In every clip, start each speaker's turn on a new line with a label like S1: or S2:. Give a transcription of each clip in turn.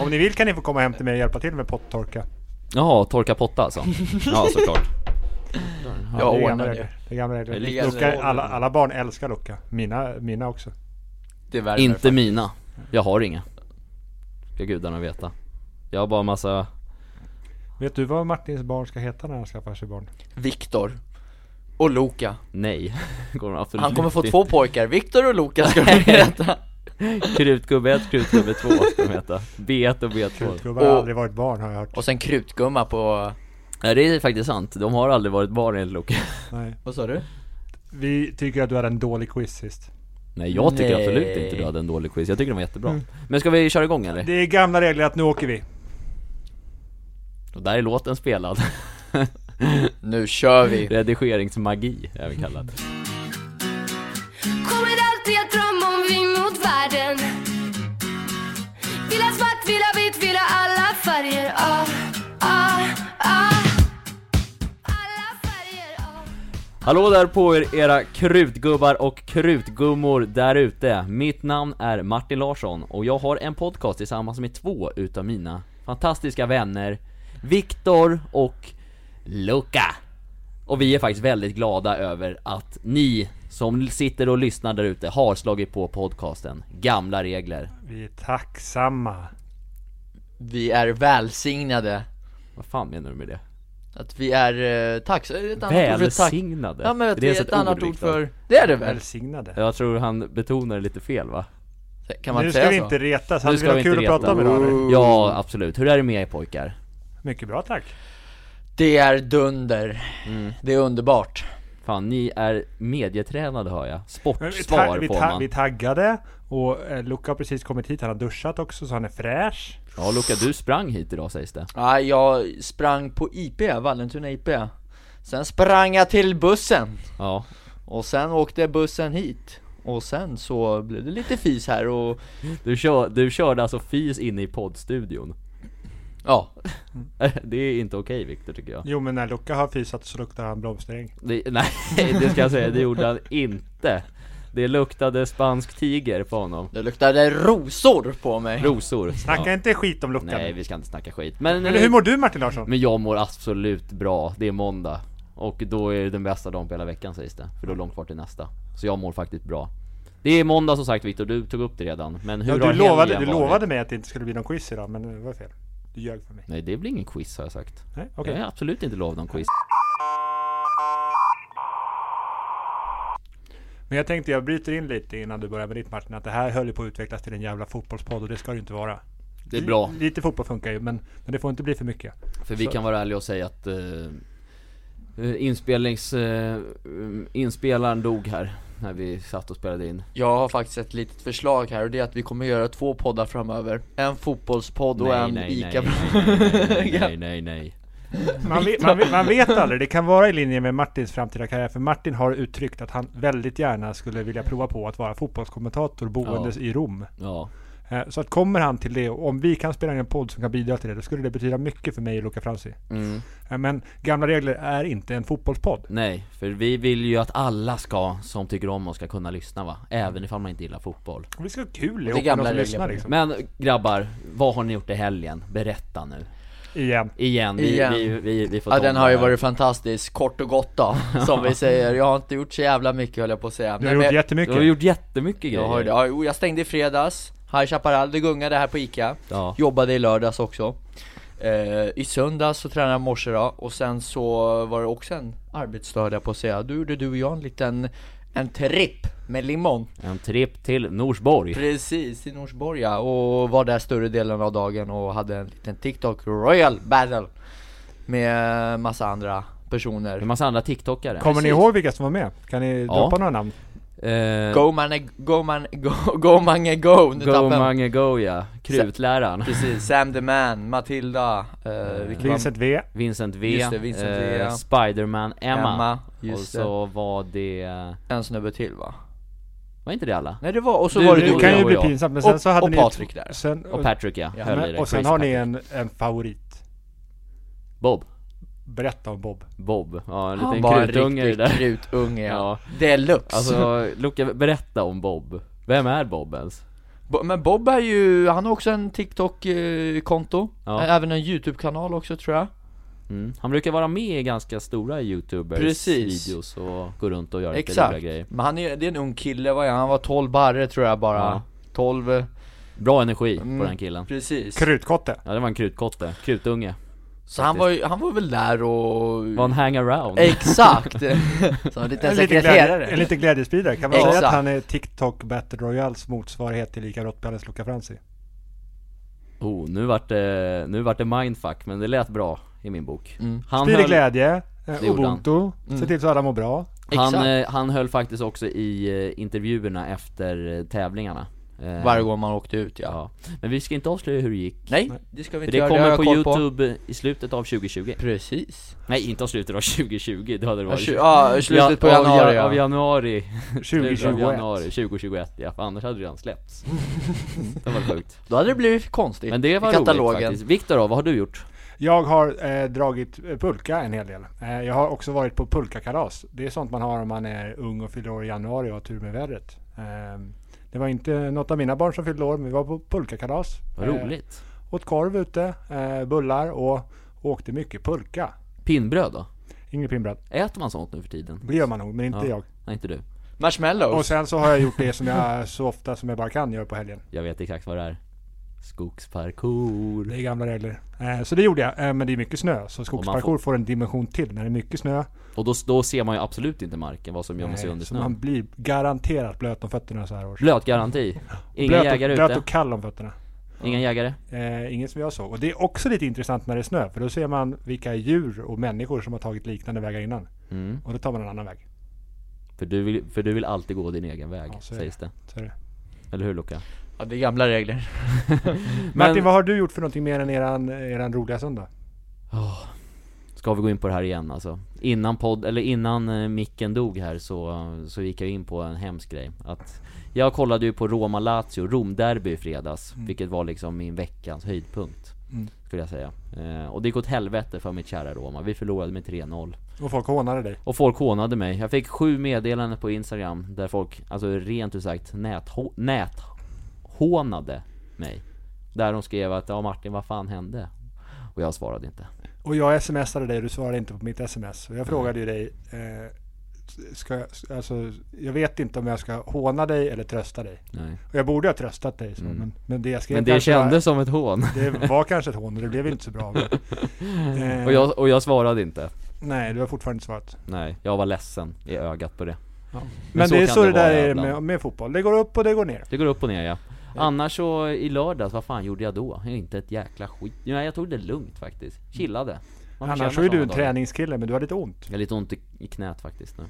S1: Om ni vill kan ni få komma hem till mig och hjälpa till med pottorka.
S2: Jaha, torka potta alltså? Ja, såklart.
S1: det är
S3: Jag
S1: gamla
S3: ordnar det.
S1: regler. Det är gamla regler.
S3: Det ligger alltså
S1: Lucka,
S3: så-
S1: alla, alla barn älskar Lucka. Mina, mina också.
S3: Det värmer
S2: Inte
S3: faktiskt.
S2: mina. Jag har inga. Ska gudarna veta. Jag har bara massa...
S1: Vet du vad Martins barn ska heta när han skaffar sig barn?
S3: Viktor. Och Loka.
S2: Nej. Kommer absolut
S3: Han kommer få
S2: inte.
S3: två pojkar, Viktor och Loka ska de heta.
S2: Krutgubbe 1, krutgubbe 2 ska de heta. B1 och B2.
S1: Krutgubbar har
S3: Och-
S1: aldrig varit barn har jag hört.
S3: Och sen Krutgumma på...
S2: Nej det är faktiskt sant. De har aldrig varit barn enligt Loke.
S1: Nej.
S3: Vad sa du?
S1: Vi tycker att du hade en dålig quiz sist.
S2: Nej jag tycker
S3: Nej. Mm.
S2: absolut inte du hade en dålig quiz. Jag tycker de var jättebra. Men ska vi köra igång eller?
S1: Det är gamla regler att nu åker vi.
S2: Och där är låten spelad.
S3: Nu kör vi!
S2: Redigeringsmagi är vi kallad.
S4: Kommer alltid att drömma om vi mot världen Vill ha svart, vill ha vitt, vill ha alla färger ah, ah, ah. Alla färger ah.
S2: Hallå där på er, era krutgubbar och krutgummor där ute. Mitt namn är Martin Larsson och jag har en podcast tillsammans med två utav mina fantastiska vänner, Viktor och Luca. Och vi är faktiskt väldigt glada över att ni som sitter och lyssnar där ute har slagit på podcasten Gamla Regler.
S1: Vi är tacksamma.
S3: Vi är välsignade.
S2: Vad fan menar du med det?
S3: Att vi är... Eh, tack, är det ett annat ord för tack?
S2: Välsignade?
S3: Ja men att
S2: Det
S3: det
S2: är
S3: är
S2: ens
S3: ett,
S2: ett
S3: annat
S2: ord,
S3: ord
S2: Viktor.
S3: för... Det är det väl?
S1: Välsignade.
S2: Jag tror han betonar det lite fel va?
S3: Kan man
S1: nu
S3: inte
S1: ska
S3: säga
S1: vi
S3: så?
S1: inte retas. Hade
S2: ska
S1: vi något
S2: vi
S1: kul
S2: inte
S1: att prata om
S2: reta.
S1: idag eller?
S2: Ja absolut, hur är det med er pojkar?
S1: Mycket bra tack.
S3: Det är dunder. Det är underbart.
S2: Fan, ni är medietränade hör jag.
S1: Men vi, ta-
S2: Sportsvar
S1: vi,
S2: på
S1: ta- vi
S2: man.
S1: taggade och eh, Luca har precis kommit hit. Han har duschat också så han är fräsch.
S2: Ja Luca, du sprang hit idag sägs det.
S3: Ja, jag sprang på IP, Vallentuna IP. Sen sprang jag till bussen.
S2: Ja.
S3: Och sen åkte bussen hit. Och sen så blev det lite fis här och...
S2: Du, kör, du körde alltså fis inne i poddstudion.
S3: Ja,
S2: Det är inte okej Viktor tycker jag.
S1: Jo men när Luca har fisat så luktar han blomstring.
S2: Det, nej, det ska jag säga, det gjorde han inte. Det luktade spansk tiger på honom.
S3: det luktade rosor på mig.
S2: Rosor.
S1: Snacka
S2: Ja.
S1: inte skit om Luca
S2: Nej,
S1: nu.
S2: vi ska inte snacka skit. Men,
S1: Eller hur mår du Martin Larsson?
S2: men jag mår absolut bra. Det är måndag. Och då är det den bästa dagen på hela veckan sägs det. För då är det långt kvar till nästa. Så jag mår faktiskt bra. Det är måndag som sagt Viktor, du tog upp det redan. Men hur
S1: Ja,
S2: har
S1: du lovade,
S2: helgen
S1: du
S2: varit?
S1: lovade mig att det inte skulle bli någon quiz idag men det var fel. Du ljög för mig.
S2: Nej det blir ingen quiz har jag sagt.
S1: Nej, okej.
S2: Jag har absolut inte lovat någon quiz.
S1: Men jag tänkte jag bryter in lite innan du börjar med ditt Martin. Att det här höll ju på att utvecklas till en jävla fotbollspodd och det ska det ju inte vara.
S2: Det är bra,
S1: Lite fotboll funkar ju men, men det får inte bli för mycket.
S2: för vi
S1: Så-
S2: kan vara ärliga och säga att eh, eh, inspelnings... Eh, um, inspelaren dog här när vi satt och spelade in.
S3: Jag har faktiskt ett litet förslag här och det är att vi kommer göra två poddar framöver. En fotbollspodd och en ica
S2: nej, nej, nej, nej, nej.
S1: Man vet, man, vet, man vet aldrig, det kan vara i linje med Martins framtida karriär. För Martin har uttryckt att han väldigt gärna skulle vilja prova på att vara fotbollskommentator boendes i Rom.
S2: Ja,
S1: Eh, Så att kommer han till det, och om vi kan spela in en podd som kan bidra till det, då skulle det betyda mycket för mig och Luca Franzi.
S3: Mm.
S1: Eh, Men Gamla Regler är inte en fotbollspodd.
S2: nej, för vi vill ju att alla ska, som tycker om oss, ska kunna lyssna va? Även ifall man inte gillar fotboll.
S1: Och Vi ska ha kul ihop med
S3: Gamla
S1: de som
S3: Regler
S1: lyssnar
S3: på det.
S1: liksom.
S2: Men grabbar, vad har ni gjort i helgen? Berätta nu.
S1: liksom. Igen.
S2: Igen, vi,
S3: Igen.
S2: Vi, vi, vi får
S3: Ja
S2: ta
S3: den
S2: om
S3: har ju
S2: det här.
S3: varit fantastisk, kort och gott då, som vi säger. Jag har inte gjort så jävla mycket höll jag på att säga.
S1: Du
S3: Nej,
S1: har gjort
S3: men-
S2: Du
S1: jättemycket.
S2: har gjort jättemycket grejer.
S3: Jag har ju det. Ja, jo, jag stängde i fredags, High Chaparral, det gungade här på Ica
S2: Ja.
S3: Jobbade i lördags också eh, I söndags så tränade jag morse då, och sen så var det också en arbetsdag höll jag på att säga Då gjorde du och jag en liten, en tripp med limon
S2: En tripp till Norsborg.
S3: Precis, i Norsborg ja, och var där större delen av dagen och hade en liten TikTok Royal Battle Med massa andra
S2: En
S3: personer
S2: massa andra TikTokare.
S1: Kommer ni
S3: Precis.
S1: ihåg vilka som var med? Kan ni
S2: Ja.
S1: droppa några namn?
S2: Eh,
S3: Go man, go man, go, go man, go! Nu
S2: Go
S3: tappade jag-
S2: Mange Go ja, krutläraren
S3: Precis, Sam the Man, Matilda, eh, vilket var-
S1: Vincent V.
S2: Vincent V, Eh,
S3: Just det, Vincent V, ja.
S2: Spiderman Emma,
S3: Emma,
S2: och
S3: just
S2: så var det,
S3: en snubbe till va?
S2: var inte det alla?
S3: Nej det var, och så
S2: Du-
S3: var det
S2: du
S1: Det
S3: du
S2: och
S1: kan ju
S2: jag
S1: bli
S2: och jag.
S1: pinsamt men sen
S3: Och-
S1: så hade
S3: och
S1: ni...
S3: Patrik där.
S1: Sen,
S2: Och Patrick ja,
S3: Ja,
S2: höll i
S1: men,
S2: det.
S1: och sen
S2: Chris
S1: har ni
S2: Patrick.
S1: en, en favorit.
S2: Bob,
S1: Berätta om Bob.
S2: Bob, ja en
S3: Han
S2: liten
S3: var en
S2: krutunge det
S3: riktig
S2: där
S3: krutunge ja.
S2: Ja.
S3: Deluxe!
S2: Alltså, Luca berätta om Bob, vem är Bob ens?
S3: Bo- Men Bob är ju, han har också en TikTok-konto,
S2: Ja.
S3: även en YouTube-kanal också tror jag
S2: Mm. Han brukar vara med i ganska stora youtubers
S3: Precis.
S2: videos och gå runt och göra lite roliga
S3: Exakt,
S2: grejer
S3: men han är, det är en ung kille, vad är han? Han var 12 barre tror jag bara
S2: Ja.
S3: 12, eh,
S2: Bra energi
S3: Mm.
S2: på den killen
S3: precis
S1: Krutkotte.
S2: Ja det var en krutkotte,
S3: Mm.
S2: krutunge
S3: Så han var, ju- han var väl där och...
S2: Var en hangaround
S3: Exakt! Som en liten
S1: liten glädje,
S3: sekreterare
S1: en liten glädjespridare. Kan man
S3: Exakt.
S1: säga att han är TikTok Battle Royals motsvarighet till Lika Råttbjörnens Luca Franzi?
S2: Oh, nu vart det, nu vart det mindfuck men det lät bra i min bok
S3: Mm.
S2: Han
S1: Sprider
S2: höll,
S1: glädje,
S2: Det
S1: eh,
S2: gjorde Mm.
S1: ubuntu, se till så alla mår bra.
S2: han,
S3: Exakt.
S2: eh, han höll faktiskt också i eh, intervjuerna efter eh, tävlingarna Eh,
S3: Varje gång man åkte ut ja,
S2: Ja, men vi ska inte avslöja hur det gick
S3: Nej, det ska vi
S2: För
S3: inte
S2: det
S3: göra, har
S2: kommer
S3: jag
S2: på
S3: koll
S2: youtube i slutet av 2020
S3: Precis
S2: Nej inte av slutet av 2020, det hade det
S3: Ja,
S2: varit
S3: tju- Ja, slutet på
S2: Ja,
S3: januari
S2: av, av
S3: ja.
S2: januari Slutet av
S1: 2021.
S2: januari 2021 ja, för annars hade det redan släppts Det var sjukt
S3: Då hade det blivit konstigt
S2: Men det var
S3: i
S2: roligt
S3: katalogen.
S2: faktiskt Viktor då, vad har du gjort?
S1: Jag har eh, dragit eh, pulka en hel del. Eh, jag har också varit på pulkakalas. Det är sånt man har om man är ung och fyller år i januari och har tur med vädret. Eh, det var inte något av mina barn som fyllde år, men vi var på pulkakalas.
S2: Vad roligt
S1: Eh, åt korv ute, eh, bullar och åkte mycket pulka.
S2: Pinnbröd då?
S1: Inget pinnbröd.
S2: Äter man sånt nu för tiden?
S1: Det gör man nog, men inte
S2: Ja.
S1: jag.
S2: Nej inte du,
S1: Och
S3: Marshmallows
S1: sen så har jag gjort det som jag så ofta som jag bara kan gör på helgen.
S2: jag vet exakt vad det är Skogsparkour
S1: Det är gamla regler. Eh, så det gjorde jag, eh, men det är mycket snö. Så
S2: man
S1: skogsparkour får en dimension till när det är mycket snö. eh,
S2: Och då, då ser man ju absolut inte marken, vad som gömmer sig under
S1: så man
S2: snön
S1: blir garanterat blöt om fötterna så här års.
S2: Blötgaranti Inga
S1: blöt,
S2: jägare
S1: och, blöt
S2: ute,
S1: och kall om fötterna.
S2: inga jägare
S1: Eh, inget som jag såg. Och det är också lite intressant när det är snö, för då ser man vilka djur och människor som har tagit liknande vägar innan.
S2: mm.
S1: Och då tar man en annan väg.
S2: för, du vill, för du vill alltid gå din egen väg,
S1: Ja, så är
S2: sägs det
S1: Så är det.
S2: Eller hur Luca?
S3: Ja det är gamla regler
S1: Martin, vad har du gjort för någonting mer än eran, eran roliga söndag?
S2: Åh, Ska vi gå in på det här igen alltså? Innan podd, eller innan eh, micken dog här så, så gick jag in på en hemsk grej att Jag kollade ju på Roma-Lazio, Rom-derby i fredags
S1: Mm.
S2: Vilket var liksom min veckans höjdpunkt Skulle jag säga eh, Och det gick åt helvete för mitt kära Roma, vi förlorade med 3-0
S1: Och folk hånade dig.
S2: Och folk hånade mig, jag fick sju meddelanden på instagram där folk, alltså rent ut sagt näthå- näthånade mig Där de skrev att ja Martin vad fan hände? Och jag svarade inte
S1: Och jag smsade dig och du svarade inte på mitt sms. Och jag frågade ju dig, eh, ska jag, alltså, jag vet inte om jag ska håna dig eller trösta dig.
S2: Nej
S1: Och jag borde ha tröstat dig så, men, men det jag skrev
S2: Mm. Men det
S1: kanske var-
S2: kändes som ett hån
S1: Det var kanske ett hån och det blev inte så bra. av det. Eh,
S2: och jag, och jag svarade inte
S1: Nej, du har fortfarande inte svarat.
S2: Nej, jag var ledsen i ögat på det
S1: Men,
S2: Men så
S1: det är
S2: kan
S1: så
S2: det
S1: det
S2: vara
S1: där är
S2: ibland.
S1: med, med fotboll. Det går upp och det går ner.
S2: Det går upp och ner ja Annars så i lördags, vad fan gjorde jag då? Inte ett jäkla skit Nej jag tog det lugnt faktiskt, chillade Man förtjänar
S1: Annars så är du
S2: såna
S1: en
S2: dagar.
S1: träningskille, men du har lite ont.
S2: Jag har lite ont i, i knät faktiskt nu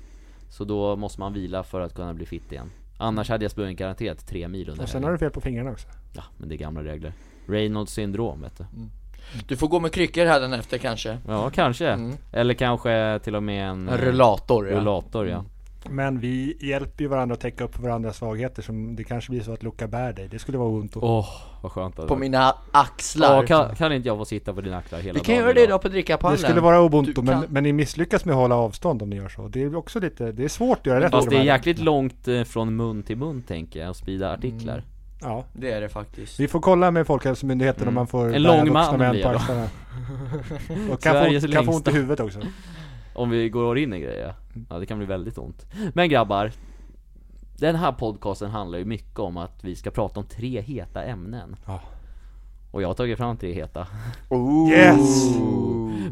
S2: Så då måste man vila för att kunna bli fit igen Annars hade jag sprungit garanterat tre mil under
S1: Och sen
S2: helgen.
S1: har du fel på fingrarna också.
S2: Ja, men det är gamla regler Reynolds syndrom vet du
S3: Du får gå med kryckor här den efter kanske
S2: Ja, kanske
S3: Mm.
S2: Eller kanske till och med en
S3: En rullator ja
S2: rullator ja
S1: Men vi hjälper ju varandra att täcka upp för varandras svagheter. Som det kanske blir så att Luca bär dig. Det skulle vara ont.
S2: Åh, vad skönt att
S3: På mina axlar
S2: Ja, kan, kan inte jag få sitta på dina axlar hela
S3: Vi
S2: dagen
S3: kan göra det idag på
S1: det
S3: Drickapallen
S1: skulle vara
S3: Du
S1: ubuntu,
S3: kan-
S1: men, men ni misslyckas med att hålla avstånd om ni gör så. Det är också lite, det är svårt att göra rätt.
S2: Fast
S1: i
S2: det
S1: de
S2: är
S1: här
S2: jäkligt
S1: lägena.
S2: långt eh, från mun till mun tänker jag, att sprida artiklar
S1: Ja.
S3: Det är det faktiskt
S1: Vi får kolla med Folkhälsomyndigheten om man får
S2: Mm. En
S1: bära
S2: lång
S1: vuxna
S2: man
S1: män
S2: blir
S1: på
S2: jag då.
S1: axlarna. Och kan
S2: Sveriges
S1: få, kan få ont
S2: längsta.
S1: i huvudet också.
S2: Om vi går in i grejer, ja det kan bli väldigt ont Men grabbar Den här podcasten handlar ju mycket om att vi ska prata om tre heta ämnen
S1: Ja.
S2: Och jag har tagit fram tre heta
S1: Yes!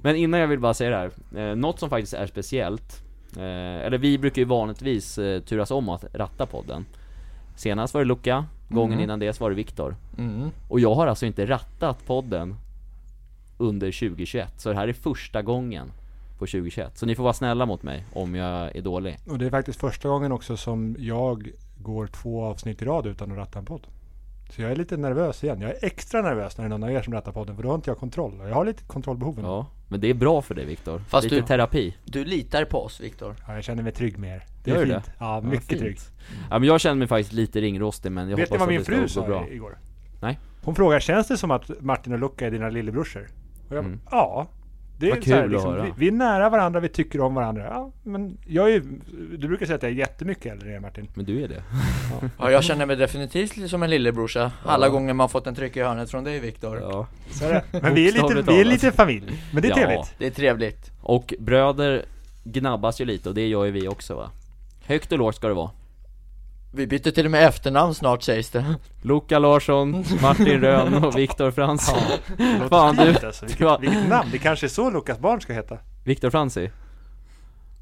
S2: Men innan jag vill bara säga det här, eh, något som faktiskt är speciellt eh, Eller vi brukar ju vanligtvis eh, turas om att ratta podden Senast var det Luca, gången innan det så var det Viktor
S3: Mm.
S2: Och jag har alltså inte rattat podden under 2021, så det här är första gången på 2021. Så ni får vara snälla mot mig om jag är dålig.
S3: Mm.
S1: Och det är faktiskt första gången också som jag går två avsnitt i rad utan att ratta en podd. Så jag är lite nervös igen. Jag är extra nervös när det är någon av er som rattar podden för då har inte jag kontroll. Och Jag har lite kontrollbehov. nu.
S2: Ja, men det är bra för dig Viktor.
S3: Fast
S2: Lite
S3: du-
S2: terapi.
S3: Du litar på oss Viktor
S1: Ja, jag känner mig trygg med er.
S2: Gör du
S1: fint.
S2: det?
S1: Ja,
S2: Ja,
S1: mycket
S2: fint.
S1: trygg.
S2: Ja, men jag känner mig faktiskt lite ringrostig men
S1: Vet
S2: jag
S1: ni
S2: hoppas
S1: vad
S2: att
S1: min
S2: det
S1: fru
S2: ska gå bra.
S1: sa i- igår?
S2: Nej.
S1: Hon frågar, känns det som att Martin och Luca är dina lillebrorsor? Och jag, Ja, Det är
S2: Mm. Vad
S1: så här,
S2: kul att
S1: liksom,
S2: höra.
S1: vi, vi är nära varandra, vi tycker om varandra. Ja, men jag är, ju- du brukar säga att jag är jättemycket äldre än dig, Martin.
S2: Men du är det.
S3: Ja, jag känner mig definitivt lite som en lillebrorsa Alla gånger man fått en tryck i hörnet från dig Viktor
S2: Ja.
S1: Så är det. Men vi är, lite,
S2: Bokstavligt
S1: vi är
S2: talat.
S1: lite familj. Men det är
S2: Ja.
S1: trevligt.
S3: Det är trevligt
S2: Och bröder gnabbas ju lite och det gör ju vi också va? Högt och lågt ska det vara.
S3: Vi byter till och med efternamn snart sägs det
S2: Loka Larsson, Martin Rönn och Viktor Fransson. Fan du,
S1: Fint alltså,
S2: du har-
S1: vilket, vilket namn. Det kanske är så Lukas barn ska heta.
S2: Viktor Fransi?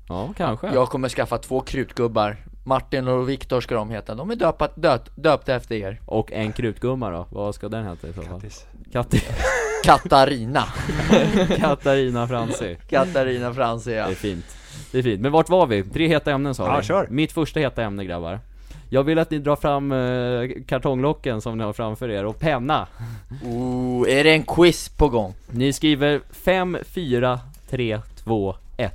S2: Ja, kanske.
S3: Jag kommer skaffa två krutgubbar Martin och Viktor ska de heta, de är döpat, döpt, döpta efter er
S2: Och en krutgumma då, vad ska den heta i så fall?
S1: Grattis.
S2: Katti-
S3: Katarina
S2: Katarina Fransi.
S3: Katarina Franzia
S2: Det är fint. Det är fint. Men vart var vi? Tre heta ämnen sa
S1: Ja,
S2: vi.
S1: kör.
S2: Mitt första heta ämne grabbar. Jag vill att ni drar fram eh, kartonglocken som ni har framför er och penna.
S3: Oh, är det en quiz på gång?
S2: Ni skriver 5, 4, 3, 2, 1.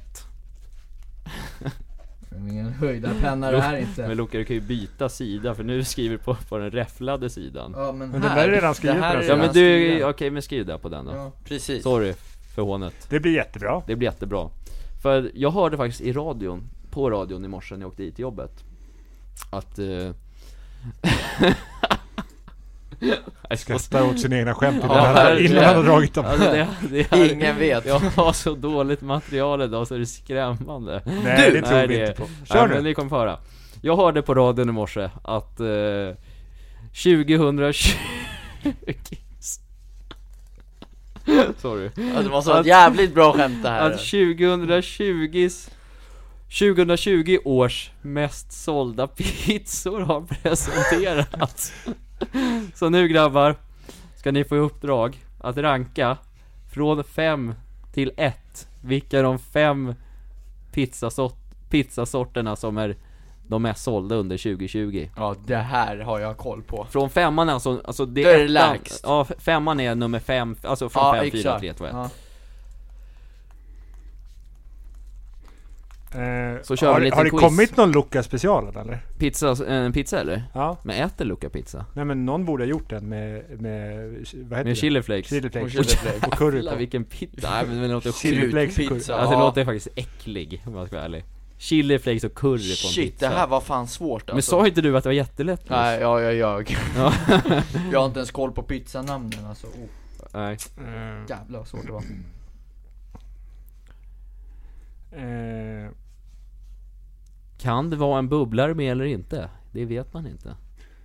S3: Ingen höjdarpenna
S2: det
S3: här
S2: Men Luka, du kan ju byta sida för nu skriver du på, på den räfflade sidan.
S3: Ja men,
S1: Men den här- där är redan skriven på den
S2: Ja
S1: sidan.
S2: men du, okej men skriv där på den då.
S3: Precis
S2: Sorry för hånet.
S1: Det blir jättebra.
S2: Det blir jättebra. För jag hörde faktiskt i radion, på radion i morse när jag åkte hit till jobbet, att... Eh... jag ska...
S1: Kastar åt sina egna skämt innan,
S2: Ja,
S1: han,
S2: verkligen.
S1: innan han har dragit dem.
S2: Alltså det, det är...
S3: Ingen vet
S2: Jag har så dåligt material idag så det är skrämmande.
S1: Nej, det tror
S2: Nej,
S1: vi
S2: det-
S1: inte på.
S2: Nej,
S1: Kör
S2: men
S1: nu.
S2: ni kommer få höra. Jag hörde på radion i morse att eh, 2020... Sorry.
S3: Ja, Det måste vara
S2: Att-
S3: ett jävligt bra skämt det här
S2: Att 2020s 2020 års mest sålda pizzor har presenterats Så nu grabbar, ska ni få i uppdrag att ranka från 5 till 1 Vilka de fem pizzasort, pizzasorterna som är de mest sålda under 2020
S3: Ja det här har jag koll på
S2: Från femman alltså, alltså det
S3: Då är det
S2: ettan-
S3: lägst.
S2: Ja, femman är nummer fem, alltså från
S3: Ja
S2: fem, fyra,
S3: exakt.
S2: tre, två, ett
S3: Ja.
S1: Eh,
S2: Så kör vi
S1: har,
S2: en liten
S1: har det
S2: quiz.
S1: kommit någon Lukas special eller?
S2: Pizza, en pizza eller?
S1: Ja.
S2: Men äter Luca pizza?
S1: Nej men någon borde ha gjort den med, med vad heter
S2: Med
S1: det?
S2: chili flakes?
S1: Chili flakes.
S3: Och chili flakes.
S1: Och curry
S2: Jävlar,
S1: på.
S2: vilken pizza, nej men det låter sjukt
S1: Chiliflakes.
S3: Chiliflakes.
S2: Alltså det
S3: Ja.
S2: låter faktiskt äcklig om jag ska vara ärlig Chili flakes och curry på en
S3: Shit
S2: pizza
S3: det här var fan svårt alltså
S2: Men sa inte du att det var jättelätt nyss?
S3: Nej, ja, jag ljög.
S2: Ja.
S3: jag har inte ens koll på pizzanamnen alltså. Oh,
S2: Nej.
S1: Eh,
S3: jävlar vad svårt det var.
S1: eh,
S2: Kan det vara en bubblare med eller inte? Det vet man inte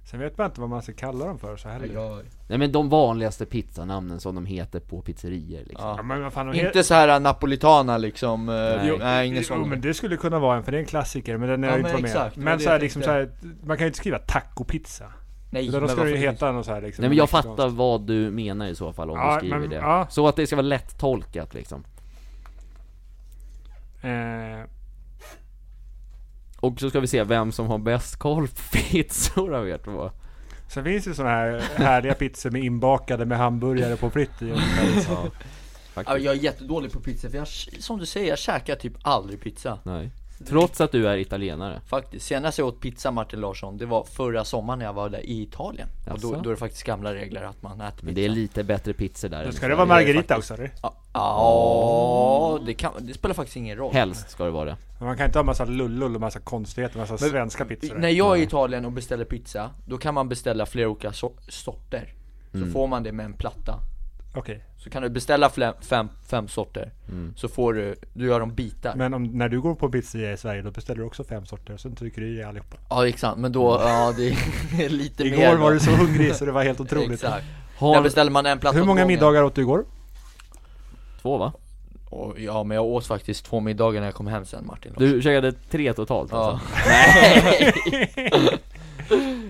S1: sen vet man inte vad man ska kalla dem för så här är det.
S2: Nej men de vanligaste pizzanamnen som de heter på pizzerior liksom
S3: Ja.
S1: Ja, men vad fan, de heter-
S3: Inte så här napolitana liksom. Nej,
S2: Jo,
S3: jo, nej ingen
S1: Jo,
S3: sån.
S1: men det skulle kunna vara en för det är en klassiker men den är
S3: Ja,
S1: ju inte
S3: men
S1: med.
S3: exakt, det var
S1: men
S3: det
S1: så här,
S3: jag
S1: liksom, så här,
S3: tänkte.
S1: man kan ju inte skriva tacopizza.
S3: Nej,
S1: Utan då ska
S3: varför
S1: det ju
S3: finns-
S1: heta något så här liksom.
S2: Nej men jag
S1: mexikansk.
S2: fattar vad du menar i så fall om
S1: Ja,
S2: du skriver
S1: men-
S2: det
S1: ja.
S2: Så att det ska vara lättolkat liksom
S1: Eh,
S2: Och så ska vi se vem som har bäst koll på pizzor av er två
S1: sen finns det sådana här härliga pizzor med inbakade med hamburgare på fritt i.
S2: ja,
S3: Ja,
S2: faktiskt.
S3: jag är jättedålig på pizza för jag, som du säger, jag käkar typ aldrig pizza.
S2: Nej. Trots att du är italienare
S3: Faktiskt. Senast jag åt pizza Martin Larsson, det var förra sommaren när jag var där i Italien. Och då,
S2: Jaså?
S3: då är det faktiskt gamla regler att man äter pizza.
S2: Men det är lite bättre pizzor där
S1: Då
S2: än i
S1: ska det
S2: Sverige.
S1: vara margarita
S3: faktiskt-
S1: också eller?
S3: Ja, Ja, det, kan, det spelar faktiskt ingen roll.
S2: Helst ska det vara det
S1: Men man kan inte ha massa lullull och massa konstigheter, massa svenska pizzor.
S3: När jag är i Italien och beställer pizza, då kan man beställa flera olika so- sorter. Så
S1: Mm.
S3: får man det med en platta.
S1: Okej,
S3: Så kan du beställa fle- fem, fem sorter, så får du, du gör dem bitar.
S1: Mm. men om, när du går på pizzeria i Sverige då beställer du också fem sorter och sen trycker du i dig allihopa.
S3: Ja exakt, men då, ja det är lite mer
S1: Igår
S3: då.
S1: var du så hungrig så det var helt otroligt.
S3: Exakt. Där
S2: Har
S3: beställer man en platta
S1: Hur
S3: åt
S1: många
S3: gången.
S1: middagar åt du igår?
S2: två va?
S3: Och, ja men jag åt faktiskt två middagar när jag kom hem sen Martin. Alltså.
S2: Du käkade tre totalt
S3: ja.
S2: alltså?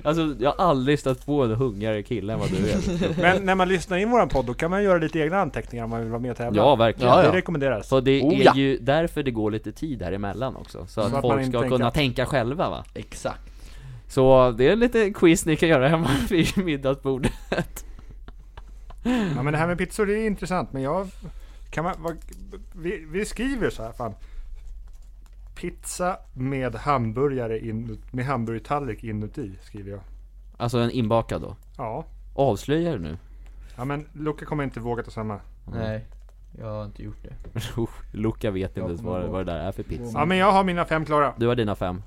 S2: Alltså jag har aldrig stött på en hungrigare kille än vad du är
S1: Men när man lyssnar in våran podd då kan man göra lite egna anteckningar om man vill vara med och tävla.
S2: Ja verkligen
S3: Ja, ja.
S1: Det rekommenderas.
S2: Så det
S3: Oh,
S2: är
S3: ja.
S2: ju därför det går lite tid här emellan också Så att
S1: att man
S2: folk
S1: inte
S2: ska
S1: tänker
S2: kunna
S1: att-
S2: tänka själva va?
S3: Exakt.
S2: Så det är lite quiz ni kan göra hemma vid middagsbordet
S1: Ja men det här med pizzor det är intressant men jag... Kan man, vad, vi, vi skriver så här fan. Pizza med hamburgare in, med hamburgertallrik inuti skriver jag.
S2: Alltså en inbakad då
S1: Ja.
S2: Avslöjar du nu? Mm.
S1: Ja men Luca kommer inte våga ta samma.
S3: Nej. Jag har inte gjort det.
S2: Usch, Luca vet inte
S3: Jag
S2: ens
S3: kommer
S2: vad,
S3: ihåg.
S2: vad det där är för pizza
S1: Ja men jag har mina fem klara.
S2: Du har dina fem